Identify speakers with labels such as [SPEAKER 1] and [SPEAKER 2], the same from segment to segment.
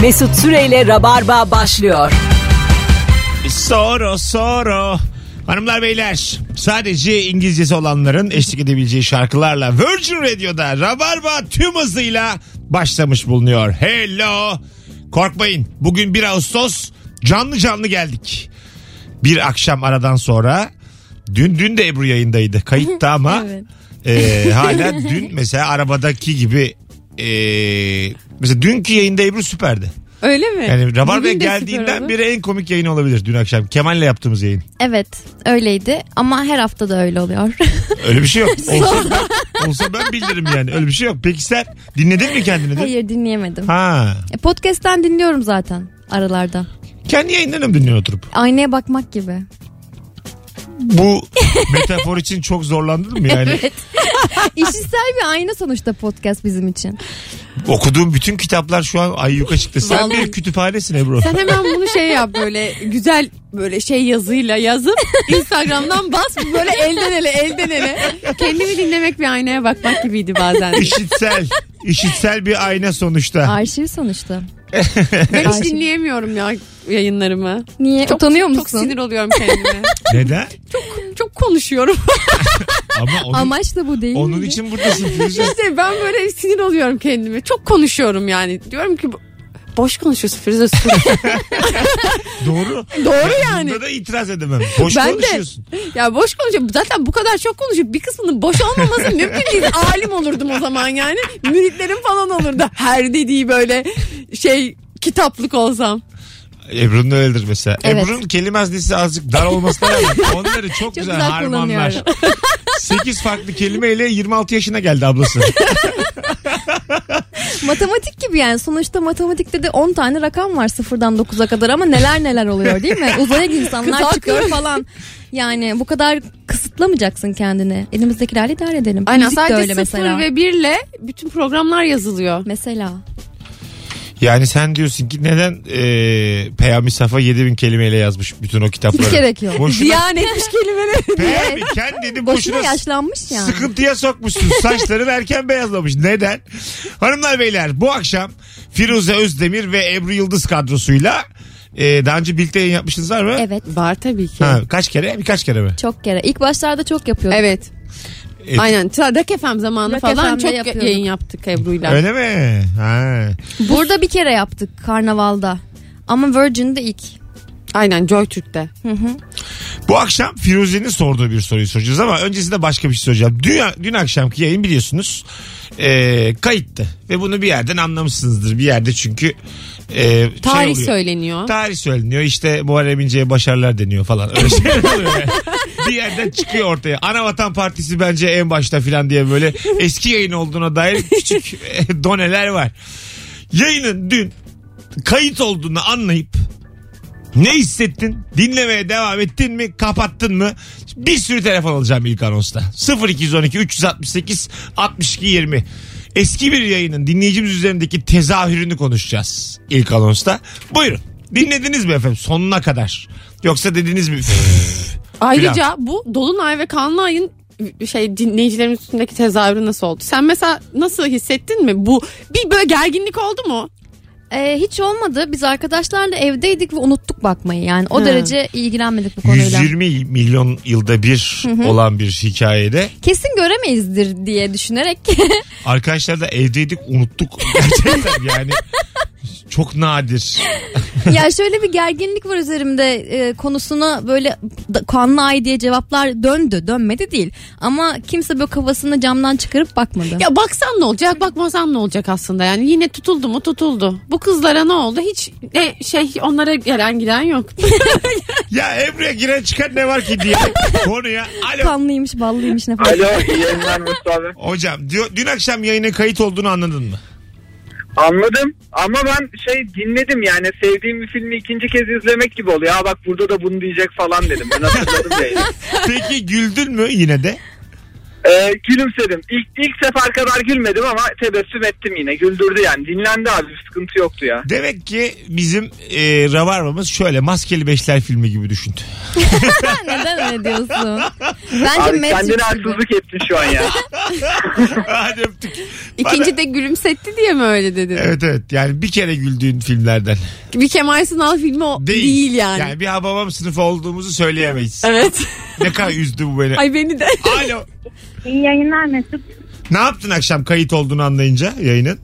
[SPEAKER 1] Mesut Süreyle Rabarba başlıyor.
[SPEAKER 2] Soro soro. Hanımlar beyler sadece İngilizcesi olanların eşlik edebileceği şarkılarla Virgin Radio'da Rabarba tüm hızıyla başlamış bulunuyor. Hello. Korkmayın bugün 1 Ağustos canlı canlı geldik. Bir akşam aradan sonra dün dün de Ebru yayındaydı kayıtta ama
[SPEAKER 3] Evet.
[SPEAKER 2] e, hala dün mesela arabadaki gibi e, mesela dünkü yayında Ebru süperdi.
[SPEAKER 3] Öyle mi?
[SPEAKER 2] Yani Rabarba'ya
[SPEAKER 3] Bugün de süper
[SPEAKER 2] geldiğinden
[SPEAKER 3] oldu.
[SPEAKER 2] beri en komik yayın olabilir dün akşam. Kemal'le yaptığımız yayın.
[SPEAKER 3] Evet öyleydi ama her hafta da öyle oluyor.
[SPEAKER 2] Öyle bir şey yok. Olsa ben, olsa ben bildiririm yani. Öyle bir şey yok. Peki sen dinledin mi kendini de?
[SPEAKER 3] Hayır dinleyemedim.
[SPEAKER 2] Ha.
[SPEAKER 3] E, podcast'ten dinliyorum zaten aralarda.
[SPEAKER 2] Kendi yayınlarını mı dinliyorsun oturup?
[SPEAKER 3] Aynaya bakmak gibi.
[SPEAKER 2] Bu metafor için çok zorlandın mı yani?
[SPEAKER 3] Evet. İşitsel bir ayna sonuçta podcast bizim için.
[SPEAKER 2] Okuduğum bütün kitaplar şu an ay yuka çıktı. Sen
[SPEAKER 4] Vallahi.
[SPEAKER 2] bir kütüphanesin Ebru.
[SPEAKER 4] Sen hemen bunu şey yap böyle güzel böyle şey yazıyla yazıp Instagram'dan bas böyle elden ele elden ele. Kendimi dinlemek bir aynaya bakmak gibiydi bazen.
[SPEAKER 2] İşitsel. İşitsel bir ayna sonuçta.
[SPEAKER 3] Arşiv sonuçta.
[SPEAKER 4] Ben hiç
[SPEAKER 3] Ayşe.
[SPEAKER 4] dinleyemiyorum ya yayınlarımı.
[SPEAKER 3] Niye? Utanıyor musun?
[SPEAKER 4] Çok sinir oluyorum kendime.
[SPEAKER 2] Neden?
[SPEAKER 4] Çok konuşuyorum.
[SPEAKER 2] Ama onun,
[SPEAKER 3] Amaç da bu değil
[SPEAKER 2] onun
[SPEAKER 3] miydi?
[SPEAKER 2] için buradasın. Firuze.
[SPEAKER 4] İşte ben böyle sinir oluyorum kendime. Çok konuşuyorum yani. Diyorum ki "Bo- boş konuşuyorsun Firuze sus."
[SPEAKER 2] Doğru.
[SPEAKER 4] Doğru yani.
[SPEAKER 2] Bunda da itiraz edemem. Boş
[SPEAKER 4] Ben de-
[SPEAKER 2] konuşuyorsun.
[SPEAKER 4] Ya boş konuşuyorum. Zaten bu kadar çok konuşup bir kısmının boş olmaması mümkün değil. Alim olurdum o zaman yani. Müritlerim falan olurdu. Her dediği böyle şey kitaplık olsam.
[SPEAKER 2] Ebru'nun öyledir mesela.
[SPEAKER 3] Evet.
[SPEAKER 2] Ebru'nun kelime haznesi azıcık dar olmasına rağmen onları çok, güzel,
[SPEAKER 3] güzel
[SPEAKER 2] harmanlar. 8 farklı kelimeyle 26 yaşına geldi ablası.
[SPEAKER 3] Matematik gibi yani. Sonuçta matematikte de 10 tane rakam var sıfırdan 9'a kadar ama neler neler oluyor değil mi? Uzaya insanlar
[SPEAKER 4] Kız
[SPEAKER 3] çıkıyor
[SPEAKER 4] haklı.
[SPEAKER 3] falan. Yani bu kadar kısıtlamayacaksın kendini. Elimizdekilerle idare edelim.
[SPEAKER 4] Aynen
[SPEAKER 3] Müzik de
[SPEAKER 4] sadece
[SPEAKER 3] öyle
[SPEAKER 4] sıfır
[SPEAKER 3] mesela.
[SPEAKER 4] ve birle bütün programlar yazılıyor.
[SPEAKER 3] Mesela.
[SPEAKER 2] Yani sen diyorsun ki neden e, Peyami Safa 7000 kelimeyle yazmış bütün o kitapları?
[SPEAKER 3] Hiç gerek yok.
[SPEAKER 2] Boşuna,
[SPEAKER 4] Ziyan etmiş kelimeleri.
[SPEAKER 2] Peyami kendini
[SPEAKER 3] Boşuna
[SPEAKER 2] boşuna,
[SPEAKER 3] yaşlanmış yani.
[SPEAKER 2] Sıkıntıya sokmuşsun. Saçların erken beyazlamış. Neden? Hanımlar beyler bu akşam Firuze Özdemir ve Ebru Yıldız kadrosuyla e, daha önce birlikte yayın yapmışsınız var mı?
[SPEAKER 3] Evet.
[SPEAKER 4] Var tabii ki.
[SPEAKER 2] Ha, kaç kere? Birkaç kere mi?
[SPEAKER 3] Çok kere. İlk başlarda çok yapıyorduk.
[SPEAKER 4] Evet.
[SPEAKER 2] E,
[SPEAKER 4] Aynen. Rak FM zamanı
[SPEAKER 3] Rock
[SPEAKER 4] falan
[SPEAKER 3] FM'de
[SPEAKER 4] çok
[SPEAKER 3] yapıyorduk.
[SPEAKER 4] yayın yaptık Ebru'yla.
[SPEAKER 2] Öyle mi? Ha.
[SPEAKER 3] Burada bir kere yaptık karnavalda. Ama Virgin'de ilk.
[SPEAKER 4] Aynen Joy Türk'te.
[SPEAKER 2] Bu akşam Firuze'nin sorduğu bir soruyu soracağız ama öncesinde başka bir şey soracağım. Dün, dün akşamki yayın biliyorsunuz e, kayıttı ve bunu bir yerden anlamışsınızdır. Bir yerde çünkü e, şey
[SPEAKER 4] Tarih
[SPEAKER 2] oluyor.
[SPEAKER 4] söyleniyor.
[SPEAKER 2] Tarih söyleniyor işte Muharrem İnce'ye başarılar deniyor falan öyle şeyler oluyor. yani. bir yerden çıkıyor ortaya. Anavatan Partisi bence en başta falan diye böyle eski yayın olduğuna dair küçük e, doneler var. Yayının dün kayıt olduğunu anlayıp ne hissettin? Dinlemeye devam ettin mi? Kapattın mı? Bir sürü telefon alacağım ilk anonsta. 0212 368 62 20. Eski bir yayının dinleyicimiz üzerindeki tezahürünü konuşacağız ilk anonsta. Buyurun. Dinlediniz mi efendim sonuna kadar? Yoksa dediniz mi? "Üf."
[SPEAKER 4] Ayrıca bu Dolunay ve Kanlı Ay'ın şey dinleyicilerin üstündeki tezahürü nasıl oldu? Sen mesela nasıl hissettin mi? Bu bir böyle gerginlik oldu mu?
[SPEAKER 3] Ee, hiç olmadı. Biz arkadaşlarla evdeydik ve unuttuk bakmayı. Yani o
[SPEAKER 4] Ha.
[SPEAKER 3] derece ilgilenmedik bu konuyla.
[SPEAKER 2] 120 milyon yılda bir olan bir hikayede
[SPEAKER 3] Kesin göremeyizdir diye düşünerek
[SPEAKER 2] arkadaşlar da evdeydik unuttuk gerçekten yani çok nadir.
[SPEAKER 3] ya şöyle bir gerginlik var üzerimde e, konusuna böyle da- kanlı ay diye cevaplar döndü dönmedi değil ama kimse böyle kafasını camdan çıkarıp bakmadı.
[SPEAKER 4] Ya baksan ne olacak bakmasan ne olacak aslında yani yine tutuldu mu tutuldu. Bu kızlara ne oldu hiç e, şey onlara gelen giden yok.
[SPEAKER 2] Ya Ebru'ya giren çıkan ne var ki diye konuya alo
[SPEAKER 3] Kanlıymış ballıymış ne falan.
[SPEAKER 5] Alo iyi yayınlar Mesut abi.
[SPEAKER 2] Hocam diyor, dün akşam yayının kayıt olduğunu anladın mı?
[SPEAKER 5] Anladım ama ben şey dinledim yani sevdiğim bir filmi ikinci kez izlemek gibi oluyor. Aa bak burada da bunu diyecek falan dedim. Ben hatırladım yayını.
[SPEAKER 2] Peki güldün mü yine de?
[SPEAKER 5] Ee, gülümsedim. İlk, ilk sefer kadar gülmedim ama tebessüm ettim yine. Güldürdü yani. Dinlendi abi. Bir sıkıntı yoktu ya.
[SPEAKER 2] Demek ki bizim e, Rabarba'mız şöyle Maskeli Beşler filmi gibi düşündü.
[SPEAKER 3] Neden öyle diyorsun? Bence
[SPEAKER 5] Abi
[SPEAKER 3] Matrix
[SPEAKER 5] kendine
[SPEAKER 3] gibi.
[SPEAKER 5] haksızlık ettin şu an ya.
[SPEAKER 2] Hadi öptük.
[SPEAKER 4] İkinci de gülümsetti diye mi öyle dedin?
[SPEAKER 2] Evet evet yani bir kere güldüğün filmlerden.
[SPEAKER 4] Bir Kemal Sunal filmi o değil, yani.
[SPEAKER 2] Yani bir babam sınıfı olduğumuzu söyleyemeyiz.
[SPEAKER 4] Evet.
[SPEAKER 2] ne kadar üzdü bu beni.
[SPEAKER 4] Ay beni de.
[SPEAKER 2] Alo.
[SPEAKER 6] İyi yayınlar Mesut.
[SPEAKER 2] Ne yaptın akşam kayıt olduğunu anlayınca yayının?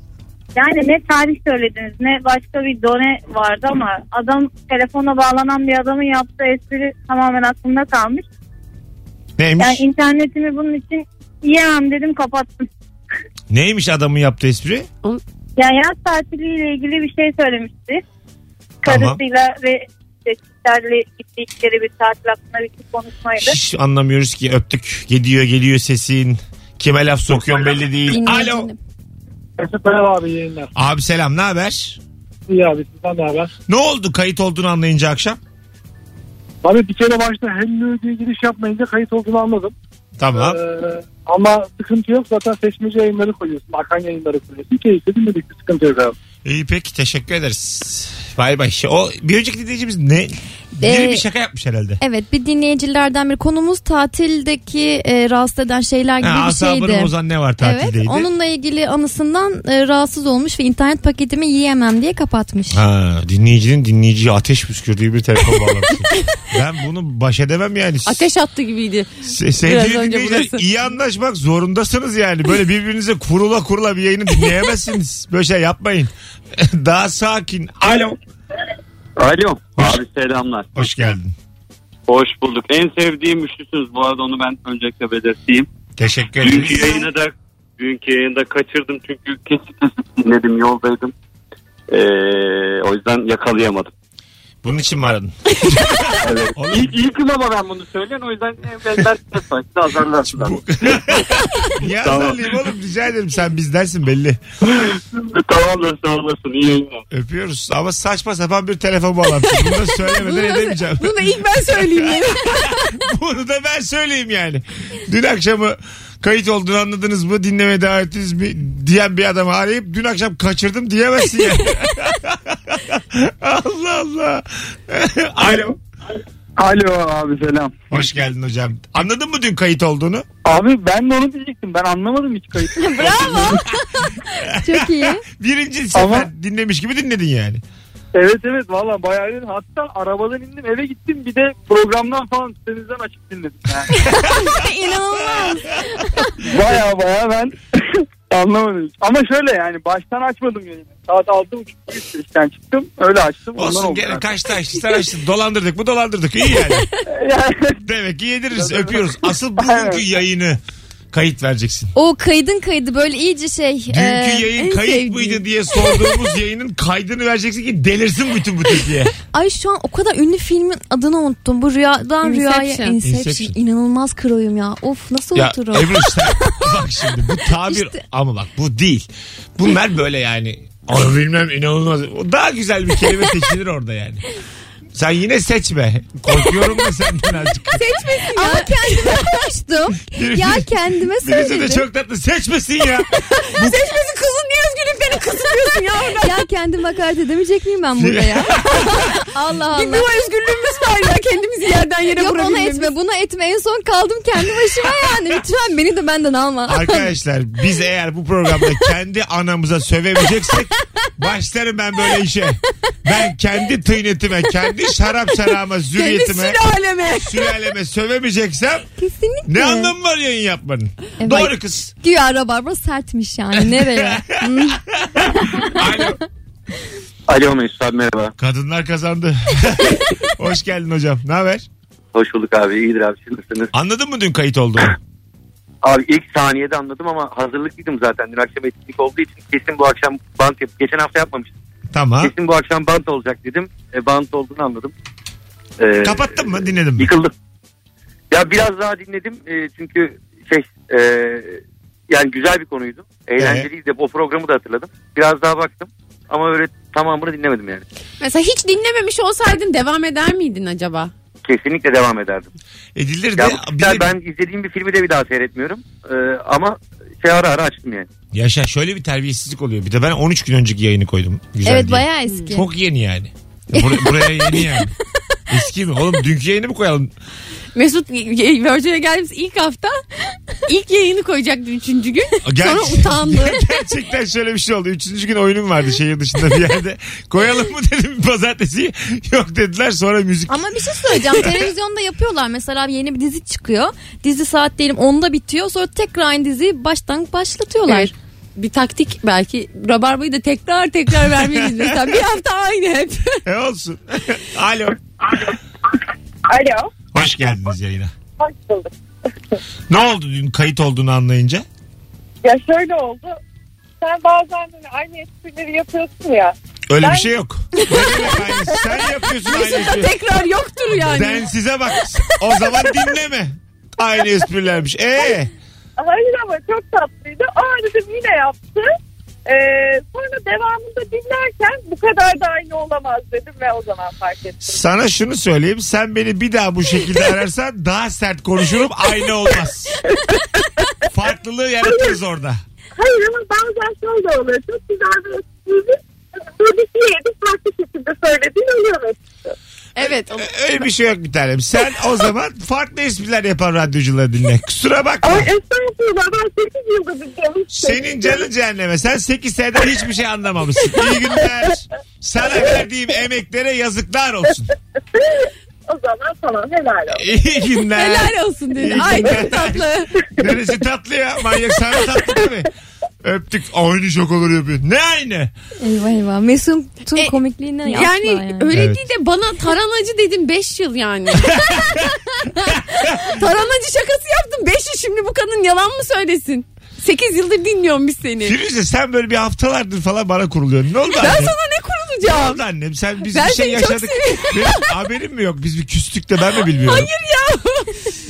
[SPEAKER 6] Yani ne tarih söylediniz ne başka bir done vardı ama adam telefona bağlanan bir adamın yaptığı espri tamamen aklımda kalmış.
[SPEAKER 2] Neymiş?
[SPEAKER 6] Yani internetimi bunun için yiyemem dedim kapattım.
[SPEAKER 2] Neymiş adamın yaptığı espri?
[SPEAKER 6] Yani yaz tatiliyle ilgili bir şey söylemişti.
[SPEAKER 2] Tamam.
[SPEAKER 6] Karısıyla ve işte kişilerle gittikleri bir tatil hakkında bir konuşmaydı.
[SPEAKER 2] Hiç anlamıyoruz ki öptük. Geliyor geliyor sesin. Kime laf sokuyorsun belli değil.
[SPEAKER 3] Dinleyicinin-
[SPEAKER 2] Alo.
[SPEAKER 7] Mesut merhaba abi yayınlar.
[SPEAKER 2] Abi selam ne haber?
[SPEAKER 7] İyi abi sizden ne haber?
[SPEAKER 2] Ne oldu kayıt olduğunu anlayınca akşam?
[SPEAKER 7] Abi bir kere başta hello diye giriş yapmayınca kayıt olduğunu anladım.
[SPEAKER 2] Tamam.
[SPEAKER 7] Ee, ama sıkıntı yok zaten seçmeci yayınları koyuyorsun. Akan yayınları koyuyorsun. Keyifli dinledik bir sıkıntı yok abi.
[SPEAKER 2] İyi peki teşekkür ederiz. Bay bay. O bir önceki dinleyicimiz ne? Biri
[SPEAKER 3] Ee,
[SPEAKER 2] bir şaka yapmış herhalde.
[SPEAKER 3] Evet bir dinleyicilerden bir konumuz tatildeki e, rahatsız eden şeyler gibi
[SPEAKER 2] Ha,
[SPEAKER 3] bir
[SPEAKER 2] asabını
[SPEAKER 3] şeydi.
[SPEAKER 2] bozan ne var
[SPEAKER 3] Evet
[SPEAKER 2] tatildeydi?
[SPEAKER 3] onunla ilgili anısından e, rahatsız olmuş ve internet paketimi yiyemem diye kapatmış.
[SPEAKER 2] Ha, dinleyicinin dinleyiciye ateş püskürdüğü bir telefon bağlantısı. ben bunu baş edemem yani.
[SPEAKER 4] Ateş attı gibiydi.
[SPEAKER 2] Se- sevgili
[SPEAKER 4] önce
[SPEAKER 2] dinleyiciler
[SPEAKER 4] burası.
[SPEAKER 2] iyi anlaşmak zorundasınız yani. Böyle birbirinize kurula kurula bir yayını dinleyemezsiniz. Böyle şey yapmayın. Daha sakin. Alo.
[SPEAKER 8] Alo. Abi selamlar.
[SPEAKER 2] Hoş geldin.
[SPEAKER 8] Hoş bulduk. En sevdiğim üçlüsünüz. Bu arada onu ben öncelikle belirteyim.
[SPEAKER 2] Teşekkür
[SPEAKER 8] Dünkü
[SPEAKER 2] ederiz.
[SPEAKER 8] yayını da dünkü yayını da kaçırdım çünkü kesit kesit dinledim yoldaydım. Ee, o yüzden yakalayamadım.
[SPEAKER 2] Bunun için mi aradın? Oğlum,
[SPEAKER 8] İyi, iyi kız ama ben bunu söyleyen o yüzden evlenler sanki azarlarsınlar.
[SPEAKER 2] bu... Niye
[SPEAKER 8] Tamam.
[SPEAKER 2] azarlayayım oğlum rica ederim sen bizdensin belli.
[SPEAKER 8] Tamamdır sağ olasın iyi yayınlar.
[SPEAKER 2] Öpüyoruz ama saçma sapan bir telefon bağlantısı. Bunu da söylemeden edemeyeceğim.
[SPEAKER 4] Bunu da ilk ben söyleyeyim dedim.
[SPEAKER 2] Bunu da ben söyleyeyim yani. Dün akşamı kayıt olduğunu anladınız mı? Dinlemeye devam ettiniz mi? Diyen bir adamı arayıp dün akşam kaçırdım diyemezsin ya. Allah Allah. Alo.
[SPEAKER 5] Alo abi selam.
[SPEAKER 2] Hoş geldin hocam. Anladın mı dün kayıt olduğunu?
[SPEAKER 5] Abi ben de onu diyecektim. Ben anlamadım hiç kayıt.
[SPEAKER 3] Çok iyi.
[SPEAKER 2] Birinci sefer
[SPEAKER 5] Ama-
[SPEAKER 2] dinlemiş gibi dinledin yani.
[SPEAKER 5] evet evet valla bayağı dedim. Hatta arabadan indim eve gittim. Bir de programdan falan sitenizden açıp dinledim. Yani.
[SPEAKER 3] İnanılmaz.
[SPEAKER 5] baya baya ben anlamadım. hiç. Ama şöyle yani baştan açmadım yayını. Saat 6.30 işten çıktım. Öyle açtım. ondan
[SPEAKER 2] Olsun
[SPEAKER 5] oldu
[SPEAKER 2] gene
[SPEAKER 5] yani.
[SPEAKER 2] kaçta açtı sen açtın. Dolandırdık mı dolandırdık. İyi yani.
[SPEAKER 5] Yani-
[SPEAKER 2] Demek ki yediririz öpüyoruz. Asıl bugünkü
[SPEAKER 5] Evet.
[SPEAKER 2] yayını kayıt vereceksin.
[SPEAKER 3] O kaydın kaydı böyle iyice şey.
[SPEAKER 2] Dünkü
[SPEAKER 3] e, en
[SPEAKER 2] yayın kayıt
[SPEAKER 3] sevdiğim.
[SPEAKER 2] mıydı diye sorduğumuz yayının kaydını vereceksin ki delirsin bütün bu Türkiye.
[SPEAKER 3] Ay şu an o kadar ünlü filmin adını unuttum. Bu rüyadan rüyaya
[SPEAKER 4] Inception.
[SPEAKER 3] Inception.
[SPEAKER 2] Inception.
[SPEAKER 3] İnanılmaz kroyum ya. Of nasıl
[SPEAKER 2] ya
[SPEAKER 3] unuturum.
[SPEAKER 2] Ebru sen bak şimdi bu tabir
[SPEAKER 3] İşte-
[SPEAKER 2] ama bak bu değil. Bunlar böyle yani onu bilmem inanılmaz. O Daha güzel bir kelime seçilir orada yani. Sen yine seçme. Korkuyorum da senden azıcık.
[SPEAKER 3] Ama kendime konuştum. ya kendime
[SPEAKER 2] Birisi de
[SPEAKER 3] söyledim.
[SPEAKER 2] çok tatlı seçmesin ya.
[SPEAKER 4] Seçmesi kızın niye özgürlüklerini kısıtlıyorsun ya orada?
[SPEAKER 3] Ya kendim hakaret edemeyecek miyim ben burada ya? Allah
[SPEAKER 4] Bir
[SPEAKER 3] Allah.
[SPEAKER 4] yuva özgürlüğümüz var ya kendimizi yerden yere
[SPEAKER 3] Yok onu
[SPEAKER 4] vurabilmemiz.
[SPEAKER 3] etme bunu etme en son kaldım kendi başıma yani lütfen beni de benden alma.
[SPEAKER 2] Arkadaşlar biz eğer bu programda kendi anamıza sövemeyeceksek başlarım ben böyle işe. Ben kendi tıynetime, kendi şarap şarama,
[SPEAKER 4] Kendi
[SPEAKER 2] zürriyetime,
[SPEAKER 4] sülaleme.
[SPEAKER 2] sülaleme sövemeyeceksem
[SPEAKER 3] Kesinlikle.
[SPEAKER 2] ne anlamı var yayın yapmanın?
[SPEAKER 3] Evet.
[SPEAKER 2] Doğru kız.
[SPEAKER 3] Güya rabarba sertmiş yani nereye? Hmm.
[SPEAKER 2] Alo.
[SPEAKER 8] Alo Mesut abi merhaba.
[SPEAKER 2] Kadınlar kazandı. Hoş geldin hocam. Ne haber?
[SPEAKER 8] Hoş bulduk abi iyidir abi siz nasılsınız?
[SPEAKER 2] Anladın mı dün kayıt olduğunu?
[SPEAKER 8] Abi ilk saniyede anladım ama hazırlıklıydım zaten. Dün akşam etkinlik olduğu için kesin bu akşam bant yap. Geçen hafta yapmamıştım.
[SPEAKER 2] Tamam.
[SPEAKER 8] Kesin bu akşam bant olacak dedim. E, bant olduğunu anladım. E,
[SPEAKER 2] Kapattın mı? Dinledin mi?
[SPEAKER 8] Yıkıldım. Ya biraz daha dinledim e, çünkü şey e, yani güzel bir konuydu.
[SPEAKER 2] Ee?
[SPEAKER 8] Eğlenceliydi. O programı da hatırladım. Biraz daha baktım ama öyle tamamını dinlemedim yani.
[SPEAKER 4] Mesela hiç dinlememiş olsaydın devam eder miydin acaba?
[SPEAKER 8] kesinlikle devam ederdim.
[SPEAKER 2] Edilir de
[SPEAKER 8] Ya, bu
[SPEAKER 2] bir de-
[SPEAKER 8] sefer ben izlediğim bir filmi de bir daha seyretmiyorum. Ee, ama şey ara ara açtım yani.
[SPEAKER 2] yaşa şöyle bir terbiyesizlik oluyor. Bir de ben 13 gün önceki yayını koydum. Güzel
[SPEAKER 3] evet
[SPEAKER 2] diye.
[SPEAKER 3] bayağı eski.
[SPEAKER 2] Çok yeni yani. Bur- buraya yeni yani. Eski mi? Oğlum dünkü yayını mı koyalım?
[SPEAKER 4] Mesut y- y- Virgin'e geldiğimiz ilk hafta ilk yayını koyacaktı üçüncü gün.
[SPEAKER 2] Ger-
[SPEAKER 4] Sonra utandı.
[SPEAKER 2] Gerçekten şöyle bir şey oldu. Üçüncü gün oyunum vardı şehir dışında bir yerde. Koyalım mı dedim pazartesi. Yok dediler sonra müzik.
[SPEAKER 3] Ama bir şey söyleyeceğim. Televizyonda yapıyorlar mesela yeni bir dizi çıkıyor. Dizi saat diyelim 10'da bitiyor. Sonra tekrar aynı diziyi baştan başlatıyorlar.
[SPEAKER 4] Evet. Bir taktik belki Rabarba'yı da tekrar tekrar vermeliyiz mesela. Bir hafta aynı hep.
[SPEAKER 2] E olsun. Alo.
[SPEAKER 6] Alo.
[SPEAKER 2] Hoş geldiniz yayına.
[SPEAKER 6] Hoş bulduk.
[SPEAKER 2] Ne oldu dün kayıt olduğunu anlayınca?
[SPEAKER 6] Ya şöyle oldu. Sen bazen hani aynı esprileri yapıyorsun ya.
[SPEAKER 2] Öyle
[SPEAKER 6] Ben-
[SPEAKER 2] bir şey yok. Ne demek aynı? Sen yapıyorsun aynı
[SPEAKER 4] Mesut'ta
[SPEAKER 2] şeyi.
[SPEAKER 4] tekrar yoktur yani.
[SPEAKER 2] Ben size bak. O zaman dinleme. Aynı esprilermiş. Ee,
[SPEAKER 6] Hayır ama çok tatlıydı. Aa dedim yine yaptı. Ee, sonra devamında dinlerken bu kadar da aynı olamaz dedim ve o zaman fark ettim.
[SPEAKER 2] sana şunu söyleyeyim. Sen beni bir daha bu şekilde ararsan daha sert konuşurum. Aynı olmaz. Farklılığı yaratırız orada.
[SPEAKER 6] Hayır ama bazen şöyle oluyor. Çok güzel bir espriydi. Böyle yedik farklı şekilde söylediğini oluyor.
[SPEAKER 4] Evet.
[SPEAKER 2] Öyle bir şey yok bir tanem. Sen o zaman farklı espriler yapan radyocuları dinle. Kusura bakma.
[SPEAKER 6] Ama estağfurullah ben 8 yılda bir canım.
[SPEAKER 2] Ah. Senin canın cehenneme. Sen 8 seneden hiçbir şey anlamamışsın. İyi günler. Sana verdiğim emeklere yazıklar olsun.
[SPEAKER 6] O zaman tamam helal olsun.
[SPEAKER 2] İyi günler.
[SPEAKER 4] Helal olsun dedi. Ay çok tatlı.
[SPEAKER 2] Neresi tatlı ya? Manyak sana tatlı tabii. Öptük. Aynı çok olur yapıyor. Ne aynı?
[SPEAKER 3] Eyvah eyvah. Mesut'un
[SPEAKER 4] E,
[SPEAKER 3] komikliğinden yani,
[SPEAKER 4] Yani,
[SPEAKER 3] yani.
[SPEAKER 4] öyle
[SPEAKER 2] Evet.
[SPEAKER 4] değil de bana taranacı dedim 5 yıl yani. taranacı şakası yaptım 5 yıl şimdi bu kadın yalan mı söylesin? 8 yıldır dinliyorum biz seni.
[SPEAKER 2] Firuze sen böyle bir haftalardır falan bana kuruluyorsun. Ne oldu
[SPEAKER 4] Ben
[SPEAKER 2] annem?
[SPEAKER 4] sana ne
[SPEAKER 2] Ne
[SPEAKER 4] kurulacağım?
[SPEAKER 2] oldu annem? Sen biz
[SPEAKER 4] Ben
[SPEAKER 2] bir şey
[SPEAKER 4] seni çok
[SPEAKER 2] yaşadık. Benim haberim mi yok? Biz bir küstük de ben mi bilmiyorum?
[SPEAKER 4] Hayır ya.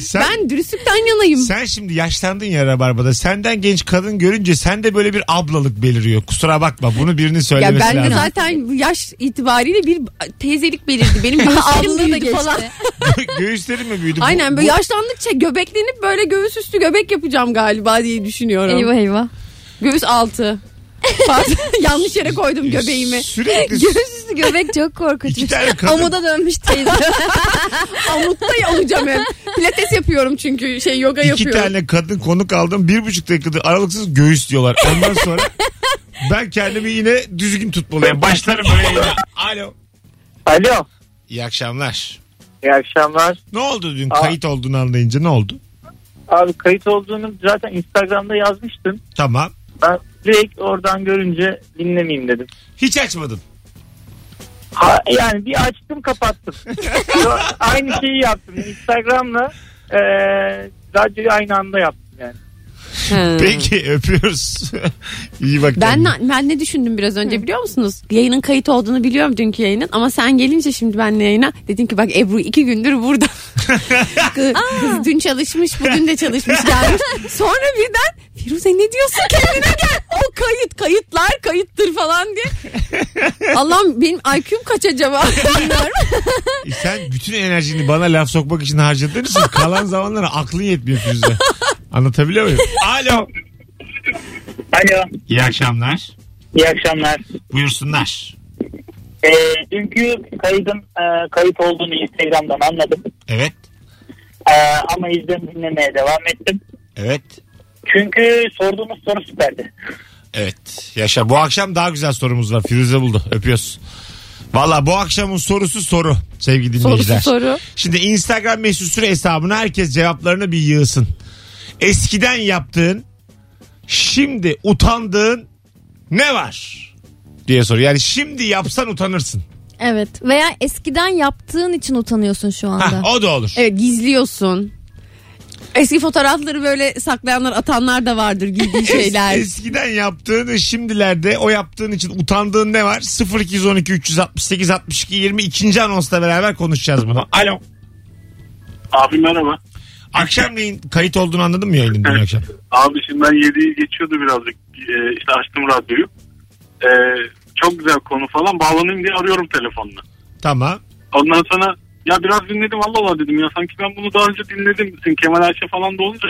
[SPEAKER 2] Sen,
[SPEAKER 4] Ben dürüstlükten yanayım.
[SPEAKER 2] sen şimdi yaşlandın ya Rabarba'da. Senden genç kadın görünce sende böyle bir ablalık beliriyor. Kusura bakma bunu birinin
[SPEAKER 4] Ya
[SPEAKER 2] söylemesi
[SPEAKER 4] ben de
[SPEAKER 2] lazım.
[SPEAKER 4] zaten yaş itibariyle bir teyzelik belirdi. Benim göğüslerim
[SPEAKER 3] Abla da
[SPEAKER 4] büyüdü
[SPEAKER 3] geçti.
[SPEAKER 4] falan.
[SPEAKER 2] Göğüslerin mi büyüdü? Bu-
[SPEAKER 4] Aynen
[SPEAKER 2] bu-
[SPEAKER 4] böyle yaşlandıkça göbeklenip böyle göğüs üstü göbek yapacağım galiba diye düşünüyorum.
[SPEAKER 3] Eyvah eyvah.
[SPEAKER 4] Göğüs altı. Pardon, Yanlış yere koydum göbeğimi.
[SPEAKER 2] E, Sürekli
[SPEAKER 3] Göğüs üstü göbek çok
[SPEAKER 2] iki
[SPEAKER 3] korkutucu.
[SPEAKER 2] tane kadın.
[SPEAKER 3] Amuda dönmüş teyze.
[SPEAKER 4] Amutta olacağım hep. Pilates yapıyorum çünkü şey yoga
[SPEAKER 2] İki
[SPEAKER 4] yapıyorum.
[SPEAKER 2] tane kadın konuk aldım. Bir buçuk dakikada aralıksız göğüs diyorlar. Ondan sonra ben kendimi yine düzgün tutmalıyım. Başlarım böyle yine. Alo.
[SPEAKER 5] Alo.
[SPEAKER 2] İyi akşamlar.
[SPEAKER 5] İyi akşamlar.
[SPEAKER 2] Ne oldu dün?
[SPEAKER 5] Aa.
[SPEAKER 2] Kayıt olduğunu anlayınca ne oldu?
[SPEAKER 5] Abi kayıt olduğunu zaten Instagram'da yazmıştın.
[SPEAKER 2] Tamam.
[SPEAKER 5] Ben direkt oradan görünce dinlemeyeyim dedim.
[SPEAKER 2] Hiç açmadın.
[SPEAKER 5] Ha, yani bir açtım kapattım. aynı şeyi yaptım. Instagram'la e, radyoyu aynı anda yaptım yani.
[SPEAKER 4] Ha.
[SPEAKER 2] Peki öpüyoruz. İyi bak.
[SPEAKER 4] Ben,
[SPEAKER 2] kendine.
[SPEAKER 4] na- ben ne düşündüm biraz önce biliyor musunuz? Yayının kayıt olduğunu biliyorum dünkü yayının ama sen gelince şimdi benle yayına dedin ki bak Ebru iki gündür burada. kız, kız dün çalışmış bugün de çalışmış gelmiş. Sonra birden Firuze ne diyorsun kendine gel. O kayıt kayıtlar kayıttır falan diye. Allah'ım benim IQ'm kaç acaba bilmiyorum.
[SPEAKER 2] E Sen bütün enerjini bana laf sokmak için harcadığın için kalan zamanlara aklın yetmiyor Firuze. Anlatabiliyor muyum? Alo.
[SPEAKER 5] Alo.
[SPEAKER 2] İyi akşamlar.
[SPEAKER 5] İyi akşamlar.
[SPEAKER 2] Buyursunlar.
[SPEAKER 5] E, dünkü kaydın e, kayıt olduğunu Instagram'dan anladım.
[SPEAKER 2] Evet.
[SPEAKER 5] E, ama izlem dinlemeye devam ettim.
[SPEAKER 2] Evet.
[SPEAKER 5] Çünkü sorduğumuz soru süperdi.
[SPEAKER 2] Evet. Yaşa bu akşam daha güzel sorumuz var. Firuze buldu. Öpüyoruz. Valla bu akşamın sorusu soru sevgili dinleyiciler.
[SPEAKER 4] Sorusu soru.
[SPEAKER 2] Şimdi Instagram mesut süre hesabına herkes cevaplarını bir yığsın. Eskiden yaptığın, şimdi utandığın ne var? diye soruyor. Yani şimdi yapsan utanırsın.
[SPEAKER 3] evet. Veya eskiden yaptığın için utanıyorsun şu anda.
[SPEAKER 2] Hah, o da olur.
[SPEAKER 4] Evet gizliyorsun. Eski fotoğrafları böyle saklayanlar atanlar da vardır gizli şeyler.
[SPEAKER 2] Eskiden yaptığını şimdilerde o yaptığın için utandığın ne var? 0212 368 62 20 ikinci anonsla beraber konuşacağız bunu. Alo.
[SPEAKER 7] Abi merhaba.
[SPEAKER 2] Akşamleyin kayıt olduğunu anladın mı yayının dün
[SPEAKER 7] Evet.
[SPEAKER 2] akşam?
[SPEAKER 7] Abi şimdi ben 7'yi geçiyordu birazcık. Ee, işte açtım radyoyu. Ee, çok güzel konu falan bağlanayım diye arıyorum telefonla.
[SPEAKER 2] Tamam.
[SPEAKER 7] Ondan sonra
[SPEAKER 5] Ya biraz dinledim Allah Allah dedim ya sanki ben bunu daha önce dinledim. Sizin Kemal Ayşe falan da olunca.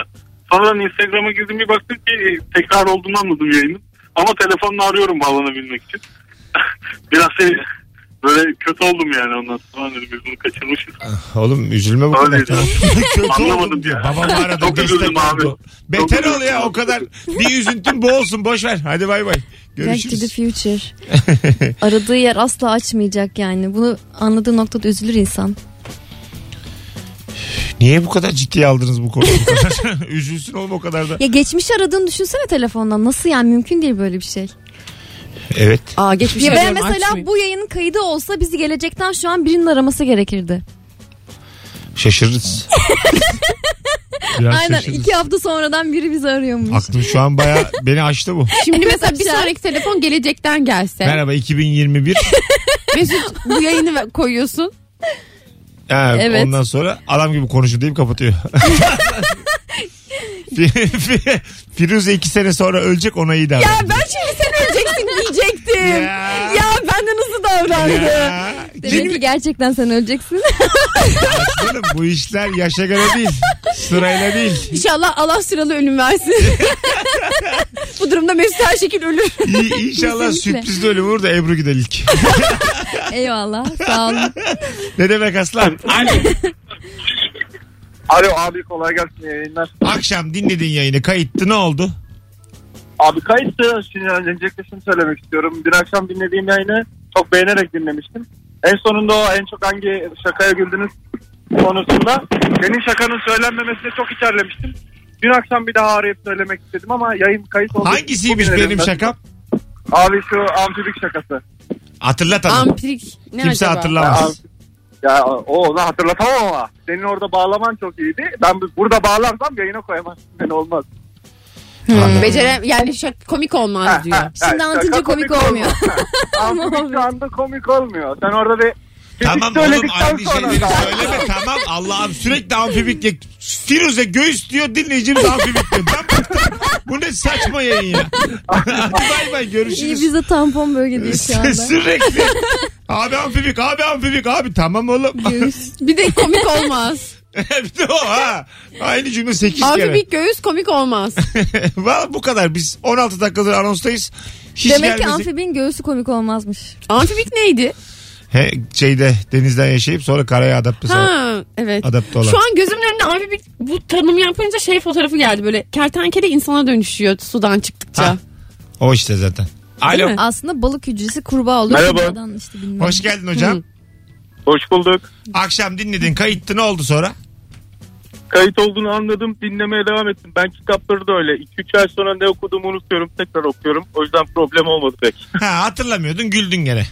[SPEAKER 5] Sonradan Instagram'a girdim bir baktım ki e, tekrar olduğunu anladım yayının. Ama telefonla arıyorum bağlanabilmek için. biraz şey, böyle kötü oldum yani ondan sonra dedim biz bunu kaçırmışız.
[SPEAKER 2] Oğlum üzülme bu kadar.
[SPEAKER 5] Öyle
[SPEAKER 2] Tamam. Kötü
[SPEAKER 5] Anlamadım
[SPEAKER 2] oldum diyor.
[SPEAKER 5] ya.
[SPEAKER 2] Babam aradı.
[SPEAKER 5] Çok
[SPEAKER 2] destek
[SPEAKER 5] üzüldüm abi.
[SPEAKER 2] oldu. Beter
[SPEAKER 5] üzüldüm.
[SPEAKER 2] ol ya o kadar. Bir üzüntün bu olsun boş ver. Hadi bay bay.
[SPEAKER 3] Back to the
[SPEAKER 2] Görüşürüz.
[SPEAKER 3] future. Aradığı yer asla açmayacak yani. Bunu anladığı noktada üzülür insan.
[SPEAKER 2] Niye bu kadar ciddiye aldınız bu konuyu? Bu kadar? Üzülsün oğlum o kadar da.
[SPEAKER 3] Ya geçmiş aradığını düşünsene telefondan. Nasıl yani mümkün değil böyle bir şey.
[SPEAKER 2] Evet.
[SPEAKER 4] Aa geçmiş
[SPEAKER 3] Ya ben
[SPEAKER 4] arıyorum,
[SPEAKER 3] mesela
[SPEAKER 4] şey açmayın.
[SPEAKER 3] bu yayının kaydı olsa bizi gelecekten şu an birinin araması gerekirdi.
[SPEAKER 2] Şaşırırız. Biraz
[SPEAKER 3] Aynen
[SPEAKER 2] şaşırırız.
[SPEAKER 3] iki hafta sonradan biri bizi arıyormuş.
[SPEAKER 2] Aklım şu an baya beni açtı bu.
[SPEAKER 4] Şimdi mesela bir sonraki telefon gelecekten gelse.
[SPEAKER 2] Merhaba 2021.
[SPEAKER 4] Mesut bu yayını ve- koyuyorsun.
[SPEAKER 2] Ha,
[SPEAKER 3] Evet.
[SPEAKER 2] Ondan sonra adam gibi konuşun deyip kapatıyor. Fi- fi- Firuze iki sene sonra ölecek ona iyi davran.
[SPEAKER 4] ben
[SPEAKER 3] şey-
[SPEAKER 4] şimdi sen öleceksin diyecektim.
[SPEAKER 2] Ya.
[SPEAKER 4] benden hızlı davrandı.
[SPEAKER 2] Ya.
[SPEAKER 3] Demek ki gerçekten sen öleceksin.
[SPEAKER 2] Canım, bu işler yaşa göre değil. Sırayla değil.
[SPEAKER 4] İnşallah Allah sıralı ölüm versin. bu durumda Mesut her şekil ölür.
[SPEAKER 2] İ- İnşallah
[SPEAKER 3] Kesinlikle.
[SPEAKER 2] sürprizli ölüm olur da Ebru gider ilk.
[SPEAKER 3] Eyvallah sağ olun.
[SPEAKER 2] ne demek aslan?
[SPEAKER 5] Alo abi kolay gelsin yayınlar.
[SPEAKER 2] Akşam dinledin yayını kayıttı ne oldu?
[SPEAKER 5] Abi kayıttı. Şimdi öncelikle şunu söylemek istiyorum. Dün akşam dinlediğim yayını çok beğenerek dinlemiştim. En sonunda o en çok hangi şakaya güldünüz konusunda senin şakanın söylenmemesine çok içerlemiştim. Dün akşam bir daha arayıp söylemek istedim ama yayın kayıt oldu.
[SPEAKER 2] Hangisiymiş
[SPEAKER 5] Bugün
[SPEAKER 2] benim
[SPEAKER 5] elimden.
[SPEAKER 2] şakam?
[SPEAKER 5] Abi şu amfibik şakası.
[SPEAKER 2] Hatırlat hanım.
[SPEAKER 4] Amprik. Ne
[SPEAKER 2] Kimse
[SPEAKER 4] acaba?
[SPEAKER 5] Ya,
[SPEAKER 2] hatırlamaz.
[SPEAKER 5] amfi- ya o onu hatırlatamam ama senin orada bağlaman çok iyiydi. Ben bu- burada bağlarsam yayına koyamazsın. Yani olmaz.
[SPEAKER 4] Hmm. Becere, yani şak, komik olmaz diyor.
[SPEAKER 3] Şimdi anlatınca komik olmuyor.
[SPEAKER 5] Amfibik şu anda komik olmuyor. Sen orada bir
[SPEAKER 2] Tamam
[SPEAKER 5] Biz
[SPEAKER 2] oğlum
[SPEAKER 5] söyledikten
[SPEAKER 2] aynı
[SPEAKER 5] sonra
[SPEAKER 2] şeyleri
[SPEAKER 5] da.
[SPEAKER 2] söyleme tamam. Allah'ım sürekli amfibik ya. Firuze göğüs diyor dinleyicimiz amfibik diyor. Ben bıktım. Bu ne saçma yayın ya. Hadi bay bay
[SPEAKER 3] İyi
[SPEAKER 2] görüşürüz.
[SPEAKER 3] biz de tampon bölgedeyiz şu anda.
[SPEAKER 2] sürekli. Abi amfibik abi amfibik abi tamam oğlum.
[SPEAKER 3] Göğüs.
[SPEAKER 4] Bir de komik olmaz.
[SPEAKER 2] Hep de o ha. Aynı cümle 8 kere.
[SPEAKER 4] Amfibik göğüs komik olmaz.
[SPEAKER 2] Valla bu kadar. Biz 16 dakikadır anonstayız. Hiç
[SPEAKER 3] Demek ki
[SPEAKER 2] gelmesin.
[SPEAKER 3] amfibinin göğsü komik olmazmış.
[SPEAKER 4] Amfibik neydi?
[SPEAKER 2] He, şeyde denizden yaşayıp sonra karaya adapte,
[SPEAKER 4] Ha evet.
[SPEAKER 2] adapte olan.
[SPEAKER 4] Şu an gözümün önünde amfibik bu tanımı yapınca şey fotoğrafı geldi böyle. Kertenkele insana dönüşüyor sudan çıktıkça.
[SPEAKER 2] Ha. O işte zaten. Alo.
[SPEAKER 3] Aslında balık hücresi kurbağa oluyor.
[SPEAKER 5] Merhaba.
[SPEAKER 3] Kurbağadan Işte bilmem.
[SPEAKER 2] Hoş geldin hocam.
[SPEAKER 5] Hoş bulduk.
[SPEAKER 2] Akşam dinledin kayıttı ne oldu sonra?
[SPEAKER 5] Kayıt olduğunu anladım dinlemeye devam ettim. Ben kitapları da öyle. 2-3 ay sonra ne okuduğumu unutuyorum tekrar okuyorum. O yüzden problem olmadı pek.
[SPEAKER 2] Ha hatırlamıyordun güldün gene.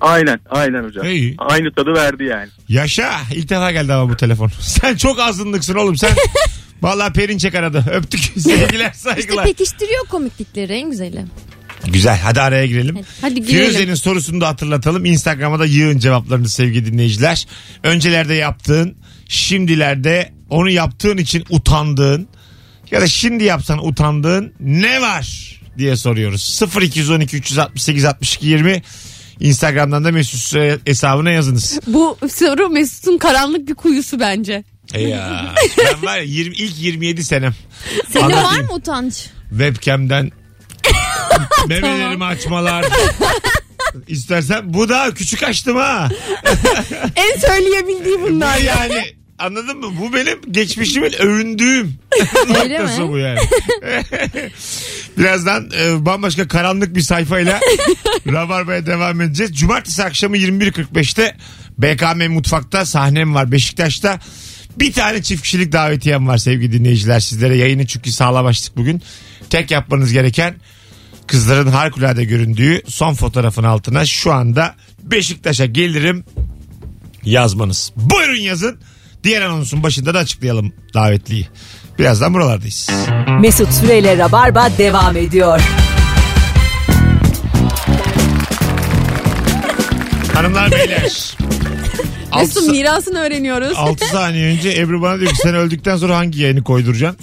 [SPEAKER 5] Aynen aynen hocam.
[SPEAKER 2] İyi.
[SPEAKER 5] Aynı tadı verdi yani.
[SPEAKER 2] Yaşa ilk defa geldi ama bu telefon. Sen çok azınlıksın oğlum sen. Valla Perinçek aradı. Öptük. Sevgiler
[SPEAKER 3] İşte
[SPEAKER 2] saygılar.
[SPEAKER 3] pekiştiriyor komiklikleri en güzeli.
[SPEAKER 2] Güzel hadi araya girelim.
[SPEAKER 4] Hadi girelim.
[SPEAKER 2] Firuze'nin sorusunu da hatırlatalım. Instagram'a da yığın cevaplarını sevgili dinleyiciler. Öncelerde yaptığın, şimdilerde onu yaptığın için utandığın ya da şimdi yapsan utandığın ne var diye soruyoruz. 0212 368 62 20 Instagram'dan da Mesut Süre hesabına yazınız.
[SPEAKER 4] Bu soru Mesut'un karanlık bir kuyusu bence.
[SPEAKER 2] E ya. Ben var ya 20, ilk 27 senem.
[SPEAKER 3] Senin var
[SPEAKER 2] Anlatayım.
[SPEAKER 3] mı utanç?
[SPEAKER 2] webcam'den memelerimi açmalar. İstersen bu da küçük açtım ha.
[SPEAKER 4] En söyleyebildiği
[SPEAKER 2] Bu
[SPEAKER 4] bunlar.
[SPEAKER 2] yani anladın mı? Bu benim geçmişimin övündüğüm
[SPEAKER 3] Öyle
[SPEAKER 2] noktası
[SPEAKER 3] mi?
[SPEAKER 2] bu yani. Birazdan e, bambaşka karanlık bir sayfayla Rabarba'ya devam edeceğiz. Cumartesi akşamı 21.45'te BKM Mutfak'ta sahnem var Beşiktaş'ta. Bir tane çift kişilik davetiyem var sevgili dinleyiciler sizlere. Yayını çünkü sağlamıştık bugün. Tek yapmanız gereken kızların harikulade göründüğü son fotoğrafın altına şu anda Beşiktaş'a gelirim yazmanız. Buyurun yazın. Diğer anonsun başında da açıklayalım davetliyi. Birazdan buralardayız.
[SPEAKER 1] Mesut Süreyle Rabarba devam ediyor.
[SPEAKER 2] Hanımlar beyler.
[SPEAKER 4] Mesut'un
[SPEAKER 2] 6,
[SPEAKER 4] mirasını öğreniyoruz.
[SPEAKER 2] saniye önce Ebru bana diyor ki sen öldükten sonra hangi yayını koyduracaksın?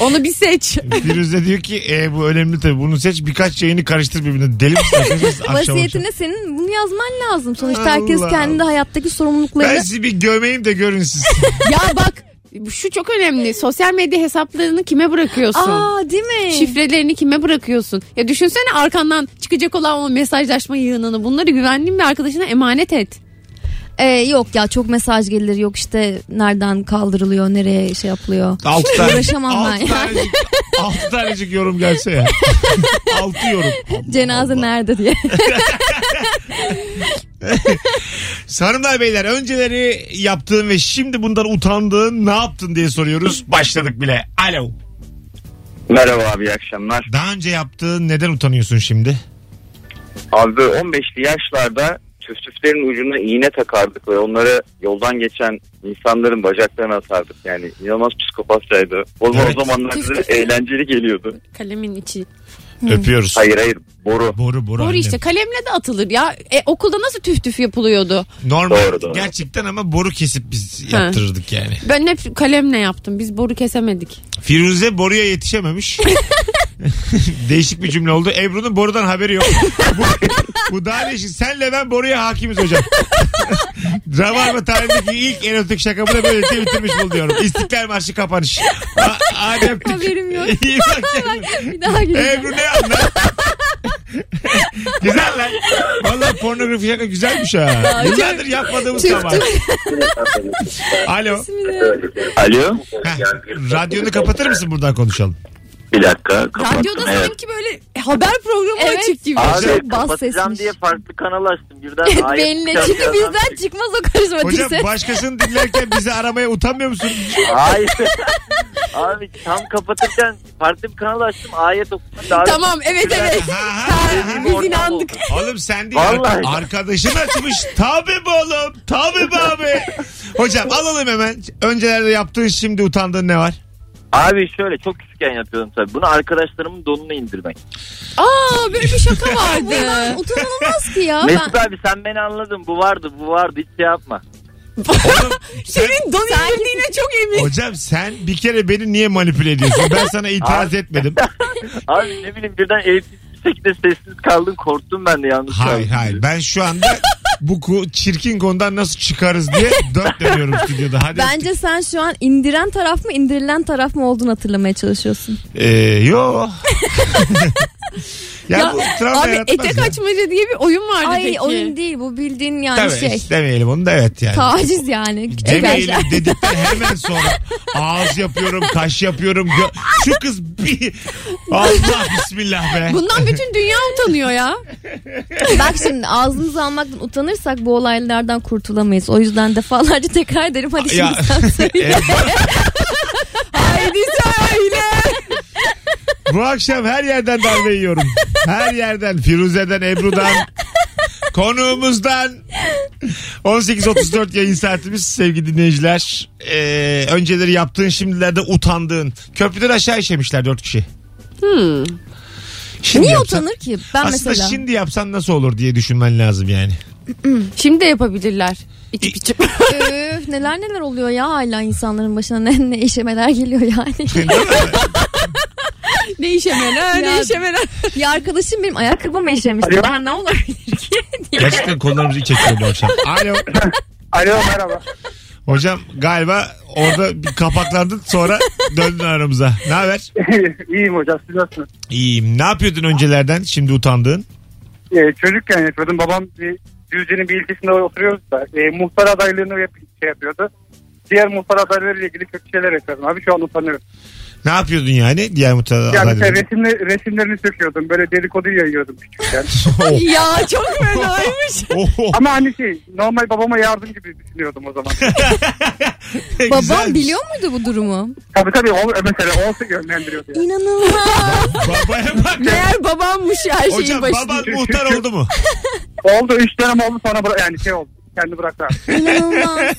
[SPEAKER 4] Onu bir seç.
[SPEAKER 2] Firuze diyor ki e, bu önemli tabii bunu seç birkaç yayını karıştır birbirine. Deli misin? Arkadaşlar, akşam akşam.
[SPEAKER 3] Vasiyetine senin bunu yazman lazım. Sonuçta herkes
[SPEAKER 2] Allah.
[SPEAKER 3] kendi hayattaki
[SPEAKER 2] Ben
[SPEAKER 3] sorumluluklarını
[SPEAKER 2] sizi bir gömeyim de görün siz.
[SPEAKER 4] ya bak şu çok önemli. Sosyal medya hesaplarını kime bırakıyorsun?
[SPEAKER 3] Aa değil mi?
[SPEAKER 4] Şifrelerini kime bırakıyorsun? Ya düşünsene arkandan çıkacak olan o mesajlaşma yığınını. Bunları güvendiğin bir arkadaşına emanet et.
[SPEAKER 3] Ee, yok ya çok mesaj gelir. Yok işte nereden kaldırılıyor, nereye şey yapılıyor.
[SPEAKER 2] 6 tane.
[SPEAKER 3] Uğraşamam ben
[SPEAKER 2] altı
[SPEAKER 3] ya.
[SPEAKER 2] tanecik, altı tanecik yorum gelse ya. 6 yorum. Allah
[SPEAKER 3] Cenaze
[SPEAKER 2] Allah.
[SPEAKER 3] nerede diye.
[SPEAKER 2] Hanımlar beyler önceleri yaptığın ve şimdi bundan utandığın ne yaptın diye soruyoruz. Başladık bile. Alo.
[SPEAKER 8] Merhaba abi iyi akşamlar.
[SPEAKER 2] Daha önce yaptığın neden utanıyorsun şimdi?
[SPEAKER 8] Abi 15'li yaşlarda tüftüflerin ucuna iğne takardık ve onlara yoldan geçen insanların bacaklarına atardık. Yani inanılmaz psikopatçaydı. O zaman
[SPEAKER 2] Evet.
[SPEAKER 8] o zamanlar bize
[SPEAKER 4] Tüftüf.
[SPEAKER 8] eğlenceli geliyordu.
[SPEAKER 4] Kalemin içi.
[SPEAKER 2] Öpüyoruz.
[SPEAKER 8] Hayır hayır boru.
[SPEAKER 2] Boru boru.
[SPEAKER 4] Doğru
[SPEAKER 2] annem.
[SPEAKER 4] işte kalemle de atılır ya. E, okulda nasıl tüf tüf yapılıyordu?
[SPEAKER 2] Normal
[SPEAKER 8] Doğru, doğru.
[SPEAKER 2] gerçekten ama boru kesip biz
[SPEAKER 4] Ha.
[SPEAKER 2] yaptırırdık yani.
[SPEAKER 4] Ben hep kalemle yaptım. Biz boru kesemedik.
[SPEAKER 2] Firuze boruya yetişememiş. Değişik bir cümle oldu. Ebru'nun borudan haberi yok. bu, bu daha değişik. Senle ben boruya hakimiz hocam. Rabarba tarihindeki ilk erotik şakamı da böylece bitirmiş buluyorum. İstiklal Marşı kapanış. A- Adem'tik.
[SPEAKER 3] Haberim yok.
[SPEAKER 2] İyi bak kendine.
[SPEAKER 3] Bir daha güleceğim.
[SPEAKER 2] Ebru ne anlar? güzel lan. Valla pornografi şaka güzelmiş ha. Yıllardır yapmadığımız sabah. Alo.
[SPEAKER 8] Alo.
[SPEAKER 2] Heh, radyonu kapatır mısın buradan konuşalım?
[SPEAKER 8] Bir dakika
[SPEAKER 4] Radyoda sanki böyle haber programı
[SPEAKER 3] Evet.
[SPEAKER 4] açık gibi.
[SPEAKER 3] Çok
[SPEAKER 8] Abi
[SPEAKER 3] şey bas
[SPEAKER 8] Şey, kapatacağım
[SPEAKER 3] sesmiş.
[SPEAKER 8] diye farklı kanal açtım. Birden
[SPEAKER 3] Evet belli.
[SPEAKER 8] ayet çıkacak
[SPEAKER 3] Çünkü
[SPEAKER 8] birazdan.
[SPEAKER 3] bizden çıkmaz o karizmatik
[SPEAKER 2] Hocam
[SPEAKER 3] ses.
[SPEAKER 2] başkasını dinlerken bizi aramaya utanmıyor musun?
[SPEAKER 8] Hayır. Abi tam kapatırken farklı bir kanal açtım. Ayet okuma davet.
[SPEAKER 4] Tamam evet evet.
[SPEAKER 2] Ha, ha.
[SPEAKER 4] Ha, Biz
[SPEAKER 8] ortam
[SPEAKER 4] inandık.
[SPEAKER 2] Oğlum sen değil
[SPEAKER 8] Vallahi.
[SPEAKER 2] arkadaşın açmış. Tabii be oğlum. Tabii be abi. Hocam alalım hemen. Öncelerde yaptığın şimdi utandığın ne var?
[SPEAKER 8] Abi şöyle çok küçükken yapıyordum tabii. Bunu arkadaşlarımın donunu indirmek.
[SPEAKER 4] Aa böyle bir şaka vardı.
[SPEAKER 3] Bundan utanılmaz ki ya. Ben...
[SPEAKER 8] Mesut abi sen beni anladın. Bu vardı bu vardı hiç şey yapma.
[SPEAKER 2] Sen,
[SPEAKER 4] Donu indirdiğine çok emin.
[SPEAKER 2] hocam sen bir kere beni niye manipüle ediyorsun? Ben sana itiraz etmedim.
[SPEAKER 8] Abi ne bileyim birden eğitim bir şekilde sessiz kaldım. Korktum ben de yanlış.
[SPEAKER 2] Hayır hayır. Ben şu anda bu ku- çirkin konudan nasıl çıkarız diye dört dönüyorum stüdyoda. Hadi.
[SPEAKER 3] Bence sen şu an indiren taraf mı indirilen taraf mı olduğunu hatırlamaya çalışıyorsun.
[SPEAKER 2] Ee, yo. ya, bu travma
[SPEAKER 4] Abi
[SPEAKER 2] yaratmaz
[SPEAKER 4] etek
[SPEAKER 2] ya.
[SPEAKER 4] açmaca diye bir oyun vardı
[SPEAKER 3] Ay
[SPEAKER 4] peki.
[SPEAKER 3] oyun değil bu bildiğin yani
[SPEAKER 2] Tabii
[SPEAKER 3] şey.
[SPEAKER 2] istemeyelim onu da evet yani.
[SPEAKER 3] Taciz yani küçük
[SPEAKER 2] Demeyelim
[SPEAKER 3] yaşlar.
[SPEAKER 2] dedikten hemen sonra ağız yapıyorum, kaş yapıyorum. gö- Şu kız bir... Allah bismillah be.
[SPEAKER 4] Bundan bütün dünya utanıyor ya.
[SPEAKER 3] Bak şimdi ağzımızı almaktan utanırsak bu olaylardan kurtulamayız. O yüzden defalarca tekrar ederim. Hadi şimdi
[SPEAKER 2] Ya.
[SPEAKER 3] sen söyle.
[SPEAKER 2] Evet.
[SPEAKER 4] Haydi söyle.
[SPEAKER 2] Bu akşam her yerden darbe yiyorum. Her yerden. Firuze'den, Ebru'dan, konuğumuzdan. 18.34 yayın saatimiz sevgili dinleyiciler. Ee, önceleri yaptığın şimdilerde utandığın. Köprüden aşağı işemişler dört kişi. Şimdi
[SPEAKER 3] Niye
[SPEAKER 2] yapsan-
[SPEAKER 3] utanır ki? Ben
[SPEAKER 2] Aslında
[SPEAKER 3] mesela.
[SPEAKER 2] şimdi yapsan nasıl olur diye düşünmen lazım yani.
[SPEAKER 4] Şimdi de yapabilirler. İçip içip.
[SPEAKER 3] Öf, neler neler oluyor ya hala insanların başına ne, ne işemeler geliyor yani.
[SPEAKER 4] ne işemeler
[SPEAKER 3] Ya-
[SPEAKER 4] ne işemeler.
[SPEAKER 3] ya arkadaşım benim ayakkabımı işemişti. Daha ne olabilir ki?
[SPEAKER 2] Gerçekten konularımızı iç açıyor bu akşam. Alo.
[SPEAKER 5] Alo merhaba.
[SPEAKER 2] Hocam galiba orada bir kapaklandın sonra döndün aramıza. Ne haber?
[SPEAKER 5] İyiyim hocam siz nasılsınız?
[SPEAKER 2] İyiyim. Ne yapıyordun öncelerden şimdi utandığın?
[SPEAKER 5] Ee, çocukken yapıyordum. Babam bir Düzce'nin bir ilçesinde oturuyoruz da e, muhtar adaylığını yap- şey yapıyordu. Diğer muhtar adaylarıyla ilgili kötü şeyler yapıyordum abi. Şu an utanıyorum.
[SPEAKER 2] Ne yapıyordun yani diğer mutlaka
[SPEAKER 5] Yani mesela resimle, resimlerini söküyordum. Böyle dedikodu yayıyordum küçükken.
[SPEAKER 2] Oh.
[SPEAKER 4] ya çok fenaymış.
[SPEAKER 5] Ama hani şey normal babama yardım gibi düşünüyordum o zaman.
[SPEAKER 3] Babam biliyor muydu bu dumu?
[SPEAKER 5] tabii tabii o, e, mesela olsa yönlendiriyordu. Yani.
[SPEAKER 3] İnanılmaz.
[SPEAKER 2] Babaya bak.
[SPEAKER 4] Meğer babammış her şeyin
[SPEAKER 2] Hocam
[SPEAKER 4] başında.
[SPEAKER 2] baban muhtar oldu mu?
[SPEAKER 5] Oldu 3 dönem oldu sonra bıra- yani şey oldu. Kendi bıraktı abi.
[SPEAKER 3] İnanılmaz.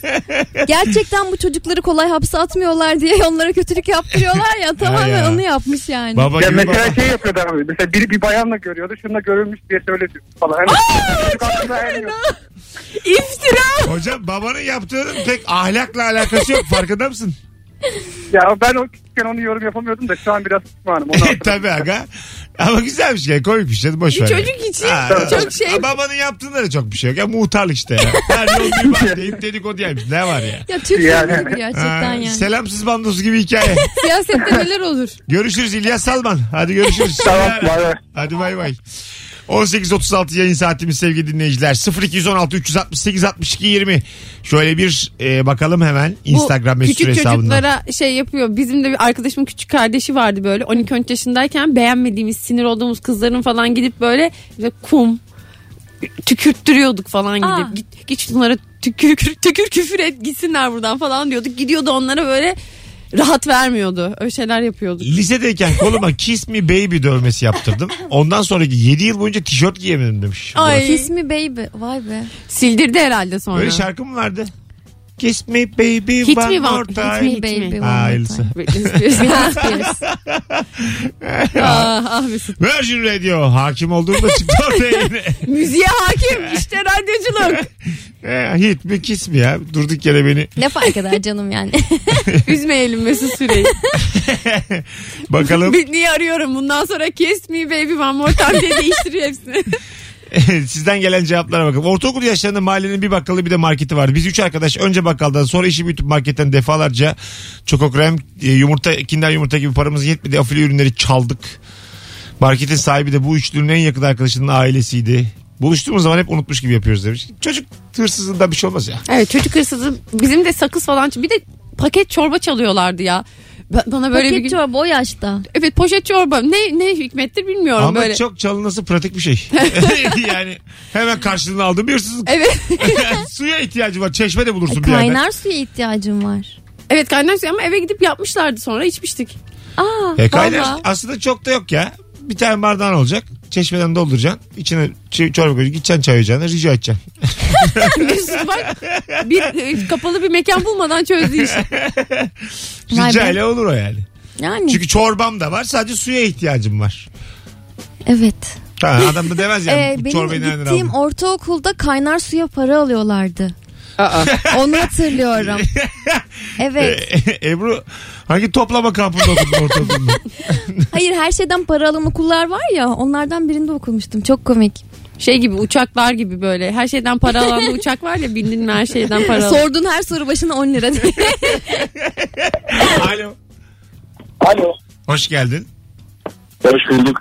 [SPEAKER 3] Gerçekten bu çocukları kolay hapse atmıyorlar diye onlara kötülük yaptırıyorlar ya. Tamamen
[SPEAKER 2] ya.
[SPEAKER 3] onu yapmış yani.
[SPEAKER 2] Baba
[SPEAKER 5] Ya
[SPEAKER 2] gibi
[SPEAKER 5] mesela
[SPEAKER 2] baba.
[SPEAKER 5] şey yapıyordu abi. Mesela biri bir bayanla görüyordu. Şununla görülmüş diye söyledi falan. Hani- Hemen çocuk aklına eriyor.
[SPEAKER 4] İftira.
[SPEAKER 2] Hocam babanın yaptığının pek ahlakla alakası yok farkında mısın?
[SPEAKER 5] Ya ben o
[SPEAKER 7] çocukken onu yorum yapamıyordum da şu an biraz pişmanım. Onu hatırladım.
[SPEAKER 2] Tabii aga. Ama güzelmiş yani komikmiş dedim boş ver.
[SPEAKER 4] Çocuk için
[SPEAKER 2] Ha,
[SPEAKER 4] çok şey.
[SPEAKER 2] Babanın yaptığında da çok bir şey yok. Ya muhtarlık işte ya. Her yol bir var deyip dedikodu yapmış. Ne var ya?
[SPEAKER 3] Ya Türk
[SPEAKER 7] Yani.
[SPEAKER 3] filmi gibi
[SPEAKER 2] Ha,
[SPEAKER 3] gerçekten yani.
[SPEAKER 2] Selamsız bandosu gibi hikaye.
[SPEAKER 4] Siyasette neler olur?
[SPEAKER 2] görüşürüz İlyas Salman. Hadi görüşürüz.
[SPEAKER 7] Tamam bay bay.
[SPEAKER 2] Hadi bay bay. 18.36 yayın saatimiz sevgili dinleyiciler. 0216 368 62 20. Şöyle bir e, bakalım hemen Instagram mesut
[SPEAKER 4] küçük
[SPEAKER 2] süre hesabından.
[SPEAKER 4] çocuklara şey yapıyor. Bizim de bir arkadaşımın küçük kardeşi vardı böyle 12-13 yaşındayken beğenmediğimiz sinir olduğumuz kızların falan gidip böyle işte kum tükürttürüyorduk falan
[SPEAKER 3] Aa.
[SPEAKER 4] gidip. Git, git şunlara tükür, tükür küfür et gitsinler buradan falan diyorduk. Gidiyordu onlara böyle rahat vermiyordu. Öyle şeyler yapıyorduk.
[SPEAKER 2] Lisedeyken koluma kiss me baby dövmesi yaptırdım. Ondan sonraki 7 yıl boyunca tişört giyemedim demiş.
[SPEAKER 4] Ay.
[SPEAKER 3] Kiss me baby. Vay be.
[SPEAKER 4] Sildirdi herhalde sonra.
[SPEAKER 2] Böyle şarkı mı vardı? Kiss me baby
[SPEAKER 4] Hit
[SPEAKER 2] one
[SPEAKER 4] me one-
[SPEAKER 2] more
[SPEAKER 4] hit
[SPEAKER 2] time.
[SPEAKER 4] me
[SPEAKER 3] Me baby. one more
[SPEAKER 2] Ha,
[SPEAKER 3] time.
[SPEAKER 2] hayırlısı.
[SPEAKER 4] Britney Spears. ah, ah Mesut.
[SPEAKER 2] Virgin Radio hakim olduğumda çıktı ortaya yine.
[SPEAKER 4] Müziğe hakim işte radyoculuk.
[SPEAKER 2] Eh, Hit mi kiss mi ya? Durduk yere beni.
[SPEAKER 3] Ne fark eder canım yani.
[SPEAKER 4] Üzmeyelim Mesut Süreyi.
[SPEAKER 2] Bakalım
[SPEAKER 4] Britney'i arıyorum. Bundan sonra Kiss Me Baby One More Time diye değiştiriyor hepsini.
[SPEAKER 2] sizden gelen cevaplara bakalım. Ortaokul yaşlarında mahallenin bir bakkalı bir de marketi vardı. Biz üç arkadaş önce bakkaldan sonra işi büyütüp marketten defalarca çoko krem, e, yumurta, kinder yumurta gibi paramız yetmedi. Afili ürünleri çaldık. Marketin sahibi de bu üçlünün en yakın arkadaşının ailesiydi. Buluştuğumuz zaman hep unutmuş gibi yapıyoruz demiş. Çocuk hırsızlığından bir şey olmaz ya.
[SPEAKER 4] Evet çocuk hırsızı bizim de sakız falan. Bir de paket çorba çalıyorlardı ya. Ba- Bana böyle
[SPEAKER 3] Paket
[SPEAKER 4] bir gün...
[SPEAKER 3] çorba o yaşta.
[SPEAKER 4] Evet poşet çorba. Ne ne hikmettir bilmiyorum
[SPEAKER 2] Ama
[SPEAKER 4] böyle.
[SPEAKER 2] çok çalınması pratik bir şey. yani hemen karşılığını aldığın bir hırsızlık.
[SPEAKER 4] Evet.
[SPEAKER 2] Suya ihtiyacı var. Çeşme de bulursun bir yerden.
[SPEAKER 3] E, Kaynar suya ihtiyacım var.
[SPEAKER 4] Evet kaynar suyu ama eve gidip yapmışlardı sonra içmiştik.
[SPEAKER 3] Aa.
[SPEAKER 2] E, kaynar
[SPEAKER 4] Vallahi.
[SPEAKER 2] aslında çok da yok ya. Bir tane bardağın olacak. Çeşmeden dolduracaksın. İçine ç- çorba koyacaksın. Gideceksin çay ocağına rica edeceksin.
[SPEAKER 4] Mesut bak bir e, kapalı bir mekan bulmadan çözdü işi.
[SPEAKER 3] Vay
[SPEAKER 2] Rica
[SPEAKER 3] be.
[SPEAKER 2] ile olur o yani.
[SPEAKER 3] Yani.
[SPEAKER 2] Çünkü çorbam da var. Sadece suya ihtiyacım var.
[SPEAKER 3] Evet.
[SPEAKER 2] Ha, adam da demez
[SPEAKER 3] Ee,
[SPEAKER 2] yani. bu
[SPEAKER 3] benim
[SPEAKER 2] çorbayı nereden
[SPEAKER 3] gittiğim
[SPEAKER 2] aldın?
[SPEAKER 3] ortaokulda kaynar suya para alıyorlardı. Onu hatırlıyorum. Evet.
[SPEAKER 2] E, Ebru hangi toplama kampında okudun ortaokulda?
[SPEAKER 3] Hayır her şeyden para alan okullar var ya onlardan birinde okumuştum. Çok komik.
[SPEAKER 4] Şey gibi uçaklar gibi böyle. Her şeyden para alan bir uçak var ya bindin mi her şeyden para alan.
[SPEAKER 3] Sorduğun her soru başına 10 lira diye.
[SPEAKER 2] Alo.
[SPEAKER 7] Alo.
[SPEAKER 2] Hoş geldin.
[SPEAKER 7] Hoş bulduk.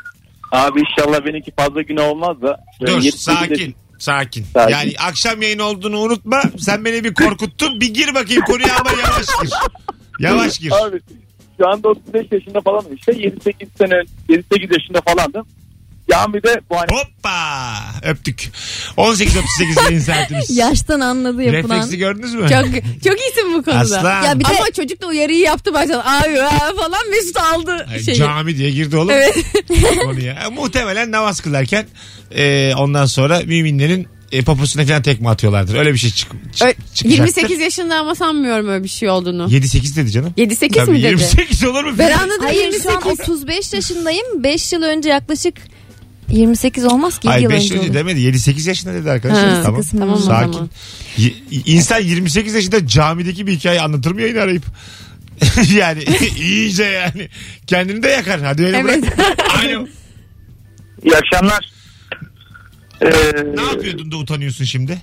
[SPEAKER 7] Abi inşallah benimki fazla günah olmaz da.
[SPEAKER 2] Dur
[SPEAKER 7] Yetmiş
[SPEAKER 2] sakin.
[SPEAKER 7] de-
[SPEAKER 2] Sakin.
[SPEAKER 7] Ee, Sakin.
[SPEAKER 2] Yani akşam yayın olduğunu unutma. Sen beni bir korkuttun. Bir gir bakayım konuya ama yavaş gir. Yavaş gir.
[SPEAKER 7] Abi şu anda 35 yaşında falanım işte. 7-8 sene, 7-8 yaşında falandım. Camide bu hani
[SPEAKER 2] Hoppa öptük. 18.38 yayın saatimiz.
[SPEAKER 3] Yaştan anladı yapılan.
[SPEAKER 2] Refleksi gördünüz mü?
[SPEAKER 4] Çok, çok iyisin bu konuda.
[SPEAKER 2] Aslan.
[SPEAKER 3] Ya bir de
[SPEAKER 4] Ama çocuk da uyarıyı yaptı baştan. Abi aa falan Mesut aldı
[SPEAKER 2] Ay,
[SPEAKER 4] şeyi.
[SPEAKER 2] Cami diye girdi oğlum konuya. E, Muhtemelen namaz kılarken e, ondan sonra müminlerin e, poposuna falan tekme atıyorlardır. Öyle bir şey çık, çık,
[SPEAKER 4] Ö-
[SPEAKER 2] çıkacaktır.
[SPEAKER 4] 28 yaşında ama sanmıyorum öyle bir şey olduğunu.
[SPEAKER 2] 7-8 dedi canım.
[SPEAKER 4] 7-8
[SPEAKER 2] Tabii,
[SPEAKER 4] mi dedi?
[SPEAKER 2] 28 olur mu?
[SPEAKER 4] Ben anladım
[SPEAKER 3] Hayır
[SPEAKER 4] 28.
[SPEAKER 3] şu an 35 yaşındayım. 5 yıl önce yaklaşık 28 olmaz ki 7
[SPEAKER 2] Ay
[SPEAKER 3] yıl
[SPEAKER 2] 5
[SPEAKER 3] önce.
[SPEAKER 2] önce
[SPEAKER 3] olur.
[SPEAKER 2] demedi. 7-8 yaşında dedi arkadaşlar.
[SPEAKER 4] Ha,
[SPEAKER 2] tamam.
[SPEAKER 3] kısmı.
[SPEAKER 4] Tamam o
[SPEAKER 2] Sakin.
[SPEAKER 4] zaman.
[SPEAKER 2] Y- İnsan 28 yaşında camideki bir hikaye anlatır mı yayını arayıp? yani iyice yani. Kendini de yakar. Hadi öyle
[SPEAKER 4] Evet.
[SPEAKER 2] bırak. Alo.
[SPEAKER 5] İyi akşamlar. Ee,
[SPEAKER 2] Ne yapıyordun da utanıyorsun şimdi?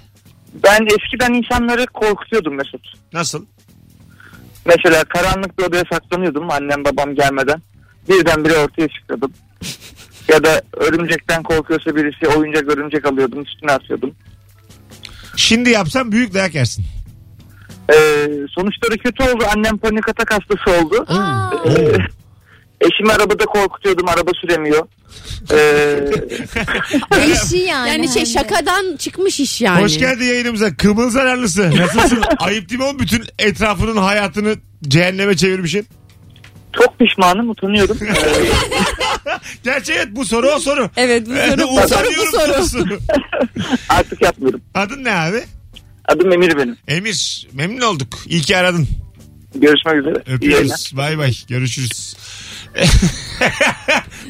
[SPEAKER 5] ben eskiden insanları korkutuyordum Mesut.
[SPEAKER 2] Nasıl?
[SPEAKER 5] Mesela karanlık bir odaya saklanıyordum annem babam gelmeden. Birdenbire ortaya çıkıyordum. ya da örümcekten korkuyorsa birisi oyuncak örümcek alıyordum üstüne atıyordum.
[SPEAKER 2] Şimdi yapsan büyük dayak yersin.
[SPEAKER 5] Ee, sonuçları kötü oldu annem panik atak hastası oldu. Ee, eşimi arabada korkutuyordum araba süremiyor. Ee,
[SPEAKER 3] Eşi yani.
[SPEAKER 4] Yani şey
[SPEAKER 3] hem de.
[SPEAKER 4] şakadan çıkmış iş yani.
[SPEAKER 2] Hoş geldin yayınımıza. Kımıl zararlısı. Nasılsın? Ayıp değil mi oğlum? Bütün etrafının hayatını cehenneme çevirmişsin.
[SPEAKER 5] çok pişmanım utanıyorum. Ee,
[SPEAKER 2] Gerçi evet bu soru o soru.
[SPEAKER 4] Evet
[SPEAKER 2] Ee,
[SPEAKER 4] bu soru bu soru
[SPEAKER 2] Utanıyorum
[SPEAKER 4] bu soru.
[SPEAKER 2] sorusu.
[SPEAKER 5] Ee, artık yapmıyorum.
[SPEAKER 2] Adın ne abi?
[SPEAKER 5] Adım Emir benim.
[SPEAKER 2] Emir. Memnun olduk. İyi ki aradın.
[SPEAKER 5] Görüşmek üzere. İyi yayınlar.
[SPEAKER 2] Öpüyoruz. Bay bay. Görüşürüz.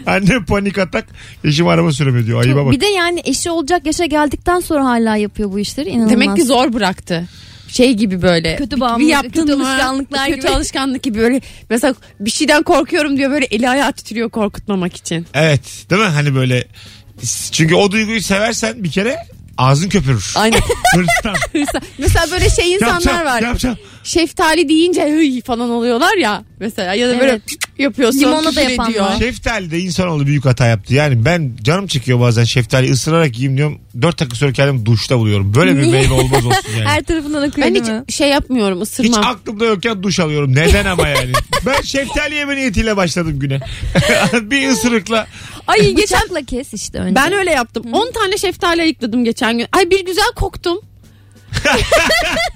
[SPEAKER 2] Annem panik atak. Eşim araba süremiyor diyor. Ayıba bak.
[SPEAKER 3] Bir de yani eşi olacak yaşa geldikten sonra hala yapıyor bu işleri. İnanılmaz.
[SPEAKER 4] Demek ki zor bıraktı. şey gibi böyle.
[SPEAKER 3] Kötü
[SPEAKER 4] bir- bir
[SPEAKER 3] bağımlılık,
[SPEAKER 4] yaptın
[SPEAKER 3] kötü
[SPEAKER 4] mı?
[SPEAKER 3] alışkanlıklar
[SPEAKER 4] kötü
[SPEAKER 3] gibi.
[SPEAKER 4] alışkanlık gibi böyle. Mesela bir şeyden korkuyorum diyor böyle eli ayağı titriyor korkutmamak için.
[SPEAKER 2] Evet değil mi? Hani böyle çünkü o duyguyu seversen bir kere ağzın köpürür.
[SPEAKER 4] Aynen.
[SPEAKER 2] Hırstan.
[SPEAKER 4] mesela böyle şey insanlar
[SPEAKER 2] Yapacağım,
[SPEAKER 4] var.
[SPEAKER 2] yapacağım.
[SPEAKER 4] Şeftali deyince hıy falan oluyorlar ya mesela ya da böyle
[SPEAKER 3] Evet.
[SPEAKER 4] pık yapıyorsun.
[SPEAKER 3] Limonata
[SPEAKER 4] küfür
[SPEAKER 3] yapan
[SPEAKER 4] ediyor.
[SPEAKER 3] var.
[SPEAKER 2] Şeftali de insanoğlu büyük hata yaptı. Yani ben canım çekiyor bazen şeftali ısırarak yiyeyim diyorum. Dört dakika sonra kendimi duşta buluyorum. Böyle bir
[SPEAKER 3] Niye?
[SPEAKER 2] meyve olmaz olsun yani.
[SPEAKER 3] Her tarafından akıyor
[SPEAKER 4] Ben
[SPEAKER 3] değil mi?
[SPEAKER 4] hiç şey yapmıyorum
[SPEAKER 2] Hiç
[SPEAKER 4] ısırmam.
[SPEAKER 2] aklımda yokken duş alıyorum. Neden ama yani? Ben şeftali yeme niyetiyle başladım güne. bir ısırıkla.
[SPEAKER 3] Ay geçakla kes işte önce.
[SPEAKER 4] Ben öyle yaptım. 10 tane şeftali ayıkladım geçen gün. Ay bir güzel koktum.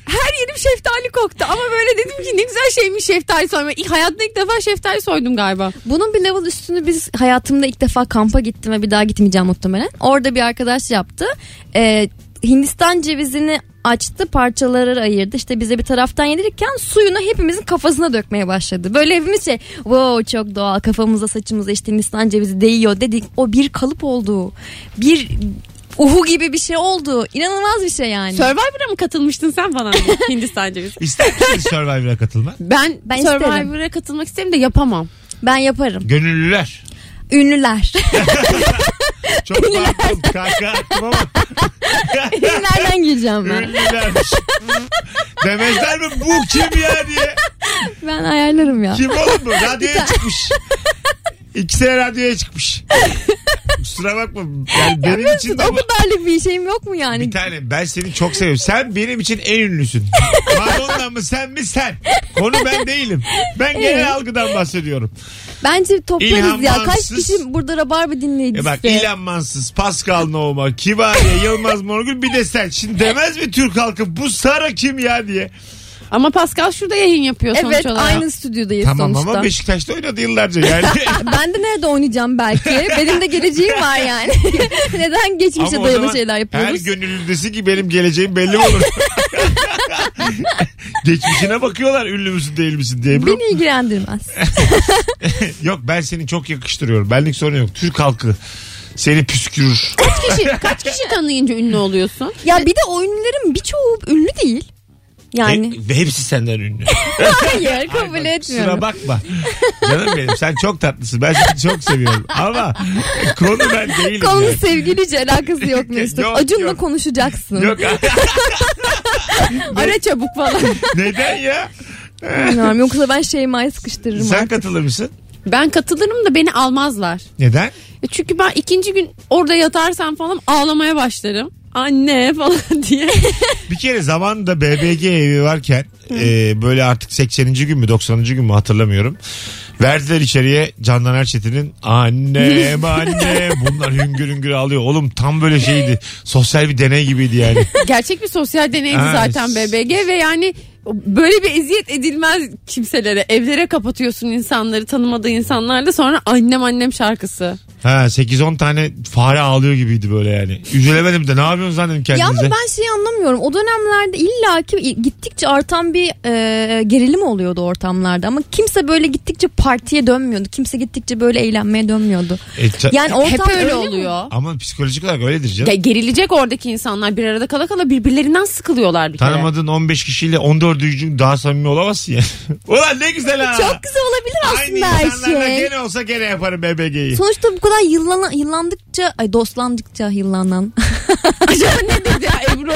[SPEAKER 4] Her yerim şeftali koktu ama böyle dedim ki ne güzel şeymiş şeftali soyma. İlk hayatımda ilk defa şeftali soydum galiba.
[SPEAKER 3] Bunun bir level üstünü biz hayatımda ilk defa kampa gittim ve bir daha gitmeyeceğim muhtemelen. Orada bir arkadaş yaptı. Ee, Hindistan cevizini açtı parçalara ayırdı. İşte bize bir taraftan yedirirken suyunu hepimizin kafasına dökmeye başladı. Böyle hepimiz şey wow çok doğal kafamıza saçımıza işte Hindistan cevizi değiyor dedik. O bir kalıp oldu. Bir uhu gibi bir şey oldu. İnanılmaz bir şey yani.
[SPEAKER 4] Survivor'a mı katılmıştın sen falan Hindistan cevizi?
[SPEAKER 2] İster misiniz Survivor'a katılmak?
[SPEAKER 4] Ben,
[SPEAKER 3] Ben
[SPEAKER 4] Survivor'a
[SPEAKER 3] isterim.
[SPEAKER 4] katılmak isterim de yapamam.
[SPEAKER 3] Ben yaparım.
[SPEAKER 2] Gönüllüler.
[SPEAKER 3] Ünlüler.
[SPEAKER 2] Çok pardon. Kanka attım ama
[SPEAKER 3] Ünlülerden gireceğim ben.
[SPEAKER 2] ünlülermiş. Demezler mi bu kim ya diye.
[SPEAKER 3] Ben ayarlarım ya.
[SPEAKER 2] Kim oğlum bu? Radyoya çıkmış. İki sene radyoya çıkmış. Kusura bakma. Yani benim için
[SPEAKER 3] Mesut
[SPEAKER 2] de
[SPEAKER 3] o
[SPEAKER 2] ama
[SPEAKER 3] kadarlık bir şeyim yok mu yani?
[SPEAKER 2] bir tane ben seni çok seviyorum. Sen benim için en ünlüsün. Madonna mı sen mi sen? Konu ben değilim. Ben genel algıdan bahsediyorum.
[SPEAKER 3] Bence toplarız
[SPEAKER 2] İlhan
[SPEAKER 3] ya. Kaç
[SPEAKER 2] Mansız.
[SPEAKER 3] kişi burada rabarba
[SPEAKER 2] E
[SPEAKER 3] dinleyicisi?
[SPEAKER 2] bak İlan Mansız, Pascal Nohuma, Kibariye, Yılmaz Morgül bir de sen. Şimdi demez mi Türk halkı bu Sara kim ya diye.
[SPEAKER 4] Ama Pascal şurada yayın yapıyor
[SPEAKER 3] Evet
[SPEAKER 4] sonuç olarak.
[SPEAKER 3] aynı stüdyodayız
[SPEAKER 2] Tamam
[SPEAKER 3] E sonuçta.
[SPEAKER 2] ama Beşiktaş'ta oynadı yıllarca yani.
[SPEAKER 3] Ben de nerede oynayacağım belki. Benim de geleceğim var yani. Neden
[SPEAKER 2] Ama
[SPEAKER 3] geçmişe
[SPEAKER 2] o
[SPEAKER 3] dayalı
[SPEAKER 2] zaman
[SPEAKER 3] şeyler yapıyoruz?
[SPEAKER 2] Her gönüllüdesi ki benim geleceğim belli olur. Geçmişine bakıyorlar ünlü müsün değil misin diye. Ebru.
[SPEAKER 3] Beni ilgilendirmez.
[SPEAKER 2] Yok ben seni çok yakıştırıyorum. Benlik sorun yok. Türk halkı seni püskürür.
[SPEAKER 4] Kaç kişi, şey. kaç kişi tanıyınca ünlü oluyorsun?
[SPEAKER 3] ya bir de oyunların birçoğu ünlü değil. Yani
[SPEAKER 2] Ve, ve hepsi senden ünlü.
[SPEAKER 3] hayır kabul
[SPEAKER 2] Ay, E, bak, Kusura
[SPEAKER 3] etmiyorum.
[SPEAKER 2] bakma. Canım benim sen çok tatlısın. Ben seni çok seviyorum. Ama konu ben değilim.
[SPEAKER 3] Konunun
[SPEAKER 2] yani.
[SPEAKER 3] sevgilice alakası yok Mesut.
[SPEAKER 2] Yok,
[SPEAKER 3] Acun'la
[SPEAKER 2] yok.
[SPEAKER 3] konuşacaksın.
[SPEAKER 2] Yok
[SPEAKER 4] Ara çabuk falan.
[SPEAKER 2] neden ya?
[SPEAKER 3] Bilmiyorum yoksa ben Şeyma'yı sıkıştırırım.
[SPEAKER 2] Sen
[SPEAKER 3] artık.
[SPEAKER 2] katılır mısın?
[SPEAKER 4] ben katılırım da beni almazlar.
[SPEAKER 2] Neden?
[SPEAKER 4] E Çünkü ben ikinci gün orada yatarsam falan ağlamaya başlarım. Anne falan diye.
[SPEAKER 2] Bir kere zamanında BBG evi varken e, böyle artık 80. gün mü 90. gün mü hatırlamıyorum. Verdiler içeriye Candan Erçetin'in annem anne bunlar hüngür hüngür alıyor. Oğlum tam böyle şeydi sosyal bir deney gibiydi yani.
[SPEAKER 4] Gerçek bir sosyal deneydi
[SPEAKER 2] Ha,
[SPEAKER 4] zaten BBG ve yani böyle bir eziyet edilmez kimselere. Evlere kapatıyorsun insanları tanımadığı insanlarla sonra annem annem şarkısı.
[SPEAKER 2] Ha 8-10 tane fare ağlıyor gibiydi böyle yani. Üzülemedim de ne yapıyorsun zannedin
[SPEAKER 3] Ya ama
[SPEAKER 2] kendinize.
[SPEAKER 3] ben şeyi anlamıyorum. O dönemlerde illaki gittikçe artan bir e, gerilim oluyordu ortamlarda. Ama kimse böyle gittikçe partiye dönmüyordu. Kimse gittikçe böyle eğlenmeye dönmüyordu.
[SPEAKER 2] E, ça-
[SPEAKER 3] Yani ortam
[SPEAKER 4] Hep öyle,
[SPEAKER 3] mi?
[SPEAKER 4] oluyor.
[SPEAKER 2] Ama psikolojik olarak öyledir canım.
[SPEAKER 4] Ya gerilecek oradaki insanlar bir arada kala kala birbirlerinden sıkılıyorlar bir kere.
[SPEAKER 2] Tanımadığın 15 kişiyle 14. gün daha samimi olamazsın ya. Ulan ne güzel ha.
[SPEAKER 3] Çok güzel olabilir
[SPEAKER 2] Aynı
[SPEAKER 3] aslında her
[SPEAKER 2] insanlarla
[SPEAKER 3] şey.
[SPEAKER 2] gene olsa gene yaparım BBG'yi.
[SPEAKER 3] Sonuçta bu kadar yıllana, yıllandıkça, ay dostlandıkça yıllanan.
[SPEAKER 4] Acaba ne dedi ya Ebru?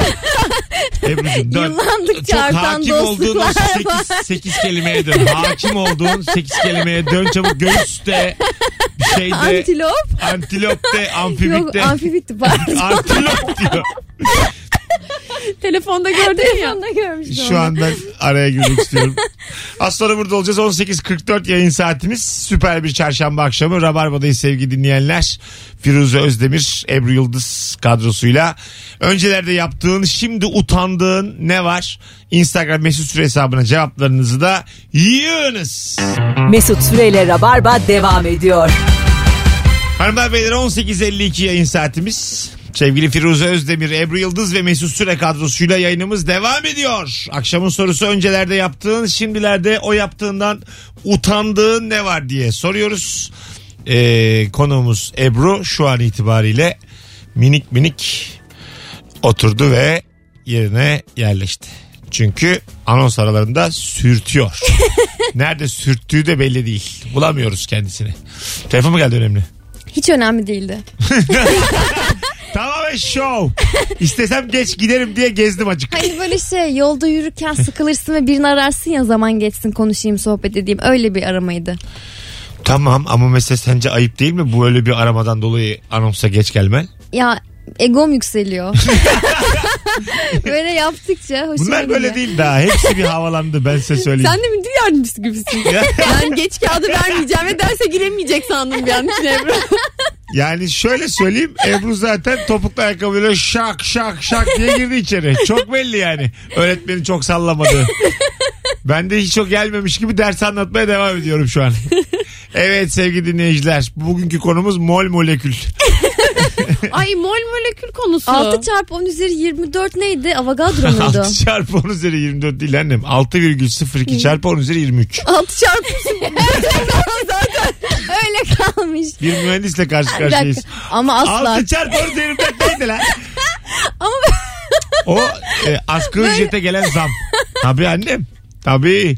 [SPEAKER 2] Ebru'cum dön.
[SPEAKER 3] Yıllandıkça
[SPEAKER 2] Çok
[SPEAKER 3] artan
[SPEAKER 2] hakim olduğun o
[SPEAKER 3] dostluklar.
[SPEAKER 2] 8, 8 kelimeye dön. Hakim olduğun 8 kelimeye dön çabuk. Göğüs de, bir şey de,
[SPEAKER 3] Antilop.
[SPEAKER 2] antilop de, amfibik
[SPEAKER 3] Yok
[SPEAKER 2] de.
[SPEAKER 3] amfibikti pardon.
[SPEAKER 2] Antilop diyor.
[SPEAKER 4] Telefonda gördün ya.
[SPEAKER 3] Telefonda görmüştüm
[SPEAKER 2] Şu
[SPEAKER 3] onu.
[SPEAKER 2] an ben araya girmek istiyorum. Az sonra burada olacağız. 18.44 yayın saatimiz. Süper bir çarşamba akşamı. Rabarba'dayız sevgili dinleyenler. Firuze Özdemir, Ebru Yıldız kadrosuyla. Öncelerde yaptığın, şimdi utandığın ne var? Instagram mesut süre hesabına cevaplarınızı da yığınız.
[SPEAKER 1] Mesut Süreyle Rabarba devam ediyor.
[SPEAKER 2] Hanımlar beyler 18.52 yayın saatimiz. Sevgili Firuze Özdemir, Ebru Yıldız ve Mesut Süre kadrosuyla yayınımız devam ediyor. Akşamın sorusu öncelerde yaptığın, şimdilerde o yaptığından utandığın ne var diye soruyoruz. Ee, konuğumuz Ebru şu an itibariyle minik minik oturdu ve yerine yerleşti. Çünkü anons aralarında sürtüyor. Nerede sürttüğü de belli değil. Bulamıyoruz kendisini. Telefon mu geldi önemli?
[SPEAKER 3] Hiç önemli değildi.
[SPEAKER 2] Tamamen e, şov. İstesem geç giderim diye gezdim acık.
[SPEAKER 3] Hani böyle şey yolda yürürken sıkılırsın ve birini ararsın ya zaman geçsin konuşayım sohbet edeyim öyle bir aramaydı.
[SPEAKER 2] Tamam ama mesela sence ayıp değil mi bu öyle bir aramadan dolayı anonsa geç gelmen?
[SPEAKER 3] Ya egom yükseliyor. böyle yaptıkça hoşuma
[SPEAKER 2] Bunlar böyle
[SPEAKER 3] gidiyor.
[SPEAKER 2] değil daha. Hepsi bir havalandı ben size söyleyeyim.
[SPEAKER 4] Sen de müdür yardımcısı gibisin. ben geç kağıdı vermeyeceğim ve derse giremeyecek sandım bir an için Ebru.
[SPEAKER 2] Yani şöyle söyleyeyim Ebru zaten topuklu ayakkabıyla şak şak şak diye girdi içeri. Çok belli yani. Öğretmeni çok sallamadı. Ben de hiç o gelmemiş gibi ders anlatmaya devam ediyorum şu an. Evet sevgili dinleyiciler. Bugünkü konumuz mol molekül.
[SPEAKER 4] Ay mol molekül konusu.
[SPEAKER 3] 6 çarpı 10 üzeri 24 neydi? Avogadro muydu?
[SPEAKER 2] 6 çarpı 10 üzeri 24 değil annem. 6,02 çarpı 10 üzeri 23.
[SPEAKER 3] 6 çarpı zaten öyle kalmış.
[SPEAKER 2] Bir mühendisle karşı
[SPEAKER 3] Bir
[SPEAKER 2] karşıyayız.
[SPEAKER 3] dakika. Ama asla.
[SPEAKER 2] 6 çarpı 10 üzeri 24 neydi lan?
[SPEAKER 3] Ama
[SPEAKER 2] O e, asgari ücrete gelen zam. Tabii annem. Tabii.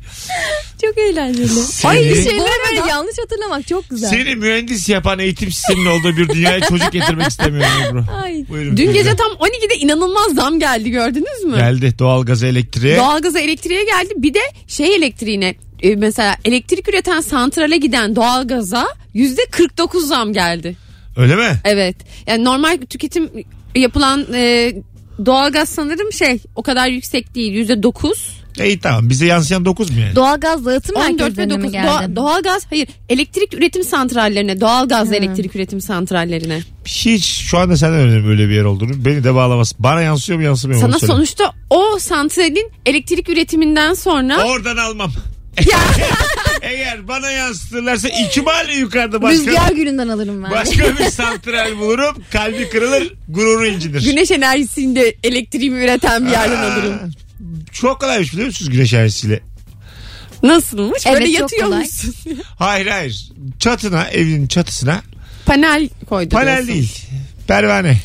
[SPEAKER 3] çok eğlenceli.
[SPEAKER 2] Ay,
[SPEAKER 3] Ay şey
[SPEAKER 2] şeyleri
[SPEAKER 3] şeyleri böyle yanlış hatırlamak çok güzel.
[SPEAKER 2] Seni mühendis yapan eğitim sisteminin olduğu bir dünyaya çocuk getirmek istemiyorum Ebru.
[SPEAKER 3] Ay.
[SPEAKER 2] Buyurun.
[SPEAKER 4] Dün gece tam 12'de inanılmaz zam geldi gördünüz mü?
[SPEAKER 2] Geldi doğalgaza elektriğe.
[SPEAKER 4] Doğalgaza elektriğe geldi. Bir de şey elektriğine e, mesela elektrik üreten santrale giden doğalgaza yüzde 49 zam geldi.
[SPEAKER 2] Öyle mi?
[SPEAKER 4] Evet. Yani normal tüketim yapılan e, doğalgaz sanırım şey o kadar yüksek değil. Yüzde 9.
[SPEAKER 2] İyi tamam. Bize yansıyan 9 mu yani?
[SPEAKER 3] Doğalgaz dağıtım
[SPEAKER 4] 14 ve
[SPEAKER 3] merkezlerine
[SPEAKER 4] 9.
[SPEAKER 3] mi geldi?
[SPEAKER 4] Doğa- doğalgaz hayır elektrik üretim santrallerine doğalgaz elektrik üretim santrallerine.
[SPEAKER 2] Hiç şu anda senden önemli böyle bir yer olduğunu. Beni de bağlaması. Bana yansıyor mu yansımıyor mu? onu
[SPEAKER 4] Sana
[SPEAKER 2] söyle.
[SPEAKER 4] sonuçta o santralin elektrik üretiminden sonra
[SPEAKER 2] Oradan almam. Eğer bana yansıtırlarsa iki mahalle yukarıda başka,
[SPEAKER 3] Rüzgar gülünden alırım ben.
[SPEAKER 2] başka bir santral bulurum. Kalbi kırılır, gururu incinir.
[SPEAKER 4] güneş enerjisinde elektriğimi üreten bir yerden alırım.
[SPEAKER 2] Çok kolaymış biliyor musunuz güneş enerjisiyle?
[SPEAKER 4] Nasılmış?
[SPEAKER 3] Evet,
[SPEAKER 4] Böyle
[SPEAKER 3] çok
[SPEAKER 4] yatıyor
[SPEAKER 3] kolay.
[SPEAKER 4] musun?
[SPEAKER 2] Hayır hayır. Çatına, evinin çatısına
[SPEAKER 4] Panel koydu.
[SPEAKER 2] panel
[SPEAKER 4] diyorsun.
[SPEAKER 2] değil. Pervane.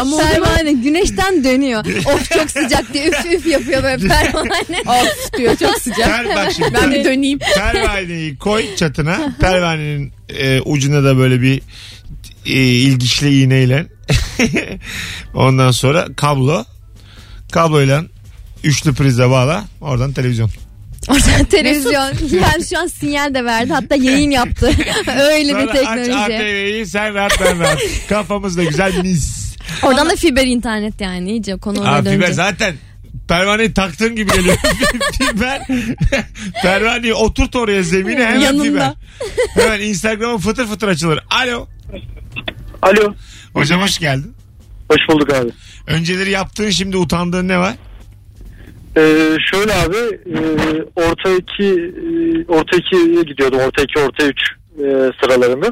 [SPEAKER 4] Ama o zaman
[SPEAKER 3] Pervane güneşten dönüyor. of çok sıcak diye üf üf yapıyor böyle pervane.
[SPEAKER 4] of diyor çok sıcak.
[SPEAKER 2] Per, bak şimdi.
[SPEAKER 4] ben
[SPEAKER 2] per-
[SPEAKER 4] bir döneyim.
[SPEAKER 2] pervaneyi koy çatına. Pervanenin e, ucuna da böyle bir e, ilgiçli iğneyle. Ondan sonra kablo. Kabloyla üçlü prize bağla. Oradan televizyon.
[SPEAKER 3] Oradan televizyon. ben şu an sinyal de verdi. Hatta yayın yaptı. Öyle bir
[SPEAKER 2] Sonra aç
[SPEAKER 3] teknoloji.
[SPEAKER 2] ATV'yi sen rahat ben rahat. Kafamız da güzel mis.
[SPEAKER 3] Oradan da fiber internet yani iyice konu
[SPEAKER 2] Aa,
[SPEAKER 3] oraya
[SPEAKER 2] fiber
[SPEAKER 3] dönecek.
[SPEAKER 2] zaten pervaneyi taktığın gibi geliyor. fiber. Pervaneyi oturt oraya zemine hemen
[SPEAKER 4] Yanında.
[SPEAKER 2] fiber. Hemen Instagram'ın fıtır fıtır açılır. Alo.
[SPEAKER 5] Alo.
[SPEAKER 2] Hocam hoş geldin.
[SPEAKER 5] Hoş bulduk abi.
[SPEAKER 2] Önceleri yaptığın şimdi utandığın ne var?
[SPEAKER 5] Ee, şöyle abi e, orta iki e, orta ikiye gidiyordum orta iki orta üç e, sıralarımı.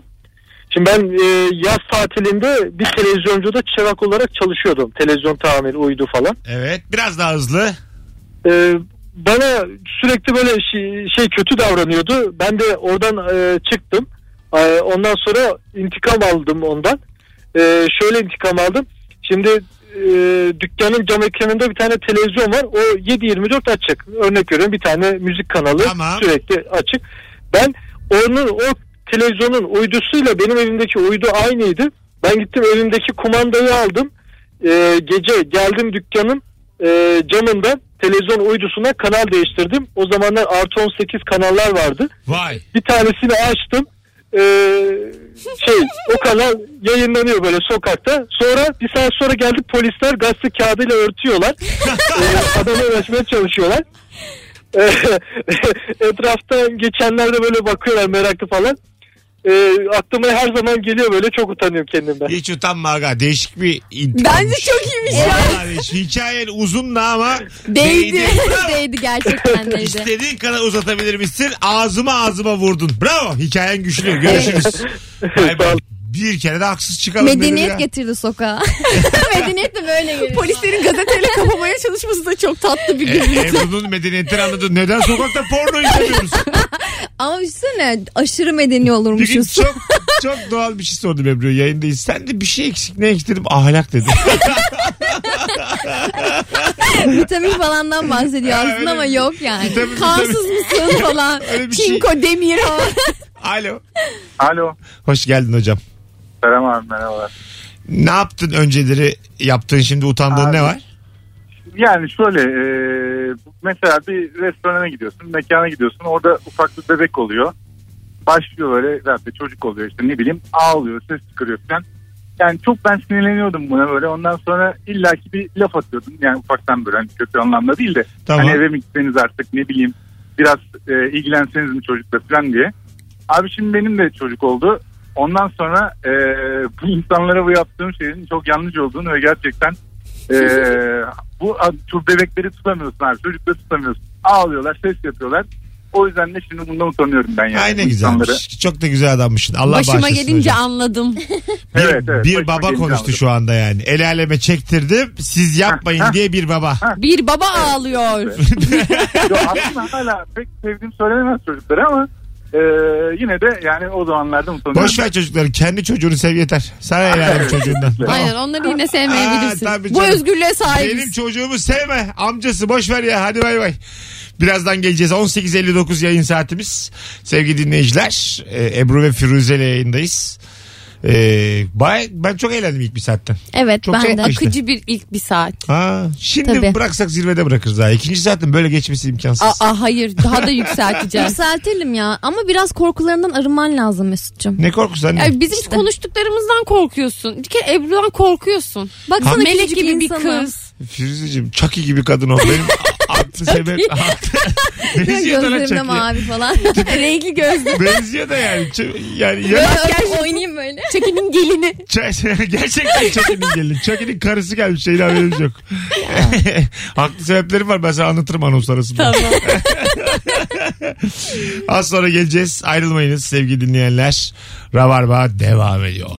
[SPEAKER 5] Şimdi ben e, yaz tatilinde bir televizyoncuda çırak olarak çalışıyordum. Televizyon tamir, uydu falan.
[SPEAKER 2] Evet biraz daha hızlı.
[SPEAKER 5] Ee, bana sürekli böyle şey, şey kötü davranıyordu. Ben de oradan e, çıktım. E, ondan sonra intikam aldım ondan. E, şöyle intikam aldım. Şimdi e, dükkanın cam ekranında bir tane televizyon var. O 7-24 açık. Örnek veriyorum bir tane müzik kanalı
[SPEAKER 2] Tamam.
[SPEAKER 5] sürekli açık. Ben onun o televizyonun uydusuyla benim elimdeki uydu aynıydı. Ben gittim elimdeki kumandayı aldım. E, gece geldim dükkanın e, camında televizyon uydusuna kanal değiştirdim. O zamanlar artı 18 kanallar vardı.
[SPEAKER 2] Vay.
[SPEAKER 5] Bir tanesini açtım. E, şey o kanal yayınlanıyor böyle sokakta. Sonra bir saat sonra geldi polisler gazete kağıdıyla örtüyorlar. e, adamı ulaşmaya çalışıyorlar. E, etraftan geçenler de böyle bakıyorlar meraklı falan. E, aklıma her zaman geliyor böyle çok utanıyorum kendimden.
[SPEAKER 2] Hiç utanma aga. Değişik bir intikam.
[SPEAKER 4] Bence çok iyiymiş ya.
[SPEAKER 2] Vallahi değişik. Hikayen uzun da ama
[SPEAKER 3] Değdi.
[SPEAKER 2] değdi.
[SPEAKER 3] Değdi gerçekten değdi.
[SPEAKER 2] İstediğin kadar uzatabilirmişsin. Ağzıma ağzıma vurdun. Bravo. Hikayen güçlü. Görüşürüz. Bay bay. Bir kere de haksız çıkalım. dedim ya.
[SPEAKER 3] Medeniyet getirdi sokağa. Medeniyet de böyle geliyor.
[SPEAKER 4] Polislerin gazeteyle kapamaya çalışması da çok tatlı bir
[SPEAKER 2] E,
[SPEAKER 4] görüntü.
[SPEAKER 2] Ebru'nun medeniyetini anladın. Neden sokakta porno izliyoruz?
[SPEAKER 3] Ama düşünsene aşırı medeni
[SPEAKER 2] Bir gün
[SPEAKER 3] olurmuşuz.
[SPEAKER 2] çok, çok doğal bir şey sordum Ebru yayındayız. Sen de bir şey eksik ne eksik dedim. Ahlak dedim.
[SPEAKER 3] Bir vitamin falandan bahsediyor
[SPEAKER 2] Ha, öyle
[SPEAKER 3] aslında ama
[SPEAKER 2] mi?
[SPEAKER 3] yok yani.
[SPEAKER 2] Vitamin,
[SPEAKER 3] Kansız mısın falan.
[SPEAKER 2] Öyle bir şey.
[SPEAKER 3] Çinko demir falan.
[SPEAKER 2] Alo.
[SPEAKER 8] Alo.
[SPEAKER 2] Hoş geldin hocam.
[SPEAKER 8] Selam abi merhabalar.
[SPEAKER 2] Ne yaptın önceleri yaptığın şimdi utandığın
[SPEAKER 8] Abi.
[SPEAKER 2] ne var?
[SPEAKER 8] Yani şöyle e, mesela bir restorana gidiyorsun, mekana gidiyorsun. Orada ufak bir bebek oluyor. Başlıyor böyle zaten çocuk oluyor işte ne bileyim ağlıyor, ses çıkarıyor falan. Yani çok ben sinirleniyordum buna böyle. Ondan sonra illaki bir laf atıyordum. Yani ufaktan böyle hani kötü anlamda değil de.
[SPEAKER 2] Tamam.
[SPEAKER 8] Hani eve mi gitseniz artık ne bileyim biraz e, ilgilenseniz mi çocukla falan diye. Abi şimdi benim de çocuk oldu. Ondan sonra e, bu insanlara bu yaptığım şeyin çok yanlış olduğunu ve gerçekten e, bu şu bebekleri tutamıyorsun abi. Çocukları tutamıyorsun. Ağlıyorlar, ses yapıyorlar. O yüzden de şimdi bundan utanıyorum ben yani.
[SPEAKER 2] Ay ne
[SPEAKER 8] Bu insanları.
[SPEAKER 2] güzelmiş. Çok da güzel adammışsın. Allah
[SPEAKER 4] Başıma
[SPEAKER 2] bağışlasın
[SPEAKER 4] gelince
[SPEAKER 2] hocam.
[SPEAKER 4] anladım.
[SPEAKER 2] Bir,
[SPEAKER 8] Evet, evet.
[SPEAKER 2] bir
[SPEAKER 8] Başıma
[SPEAKER 2] baba
[SPEAKER 8] gelince
[SPEAKER 2] konuştu
[SPEAKER 8] anladım.
[SPEAKER 2] şu anda yani. El aleme çektirdim. Siz yapmayın diye bir baba.
[SPEAKER 4] Bir baba ağlıyor.
[SPEAKER 8] Yo, aslında hala pek sevdiğim söylenemez çocukları ama e, yine de yani o zamanlarda utanıyorum.
[SPEAKER 2] Boş ver çocukları. Kendi çocuğunu sev yeter. Sana el alem çocuğundan. Tamam.
[SPEAKER 4] Aynen onları yine
[SPEAKER 2] Aa,
[SPEAKER 4] sevmeyebilirsin.
[SPEAKER 2] tabii
[SPEAKER 4] Bu
[SPEAKER 2] canım.
[SPEAKER 4] özgürlüğe sahibiz.
[SPEAKER 2] Benim çocuğumu sevme. Amcası boş ver ya. Hadi bay bay. Birazdan geleceğiz. 18.59 yayın saatimiz. Sevgili dinleyiciler. e, Ebru ve Firuze ile yayındayız. E, bay, ben çok eğlendim ilk bir saatten.
[SPEAKER 3] Evet
[SPEAKER 2] Çok şey-
[SPEAKER 3] ben de.
[SPEAKER 2] çekmiş.
[SPEAKER 4] Akıcı bir ilk bir saat.
[SPEAKER 2] Ha, şimdi
[SPEAKER 3] Tabii.
[SPEAKER 2] bıraksak zirvede bırakırız daha. İkinci saatin böyle geçmesi imkansız.
[SPEAKER 4] Aa hayır daha da yükselteceğiz.
[SPEAKER 3] Yükseltelim ya ama biraz korkularından arınman lazım Mesut'cum.
[SPEAKER 2] Ne korkusu anne?
[SPEAKER 4] Ya biz hiç konuştuklarımızdan korkuyorsun. Bir kere Ebru'dan korkuyorsun.
[SPEAKER 3] Baksana
[SPEAKER 4] Melek
[SPEAKER 3] küçücük
[SPEAKER 4] gibi bir
[SPEAKER 3] insana.
[SPEAKER 4] kız.
[SPEAKER 2] Firuzeciğim Chucky gibi kadın o. Benim a- aklı sebep. Benziyor da lan
[SPEAKER 3] Gözlerimde
[SPEAKER 2] Chucky'ye.
[SPEAKER 3] mavi falan. Renkli gözlü.
[SPEAKER 2] Benziyor da yani. Ç- Yani ya-
[SPEAKER 3] Böyle oynayayım böyle.
[SPEAKER 4] Çekinin gelini.
[SPEAKER 2] Ç- gerçekten Chucky'nin gelin. Chucky'nin karısı gelmiş. Şeyin haberimiz yok. Haklı sebeplerim var. Ben sana anlatırım anons arasında.
[SPEAKER 4] Tamam.
[SPEAKER 2] Az sonra geleceğiz. Ayrılmayınız sevgili dinleyenler. Rabarba devam ediyor.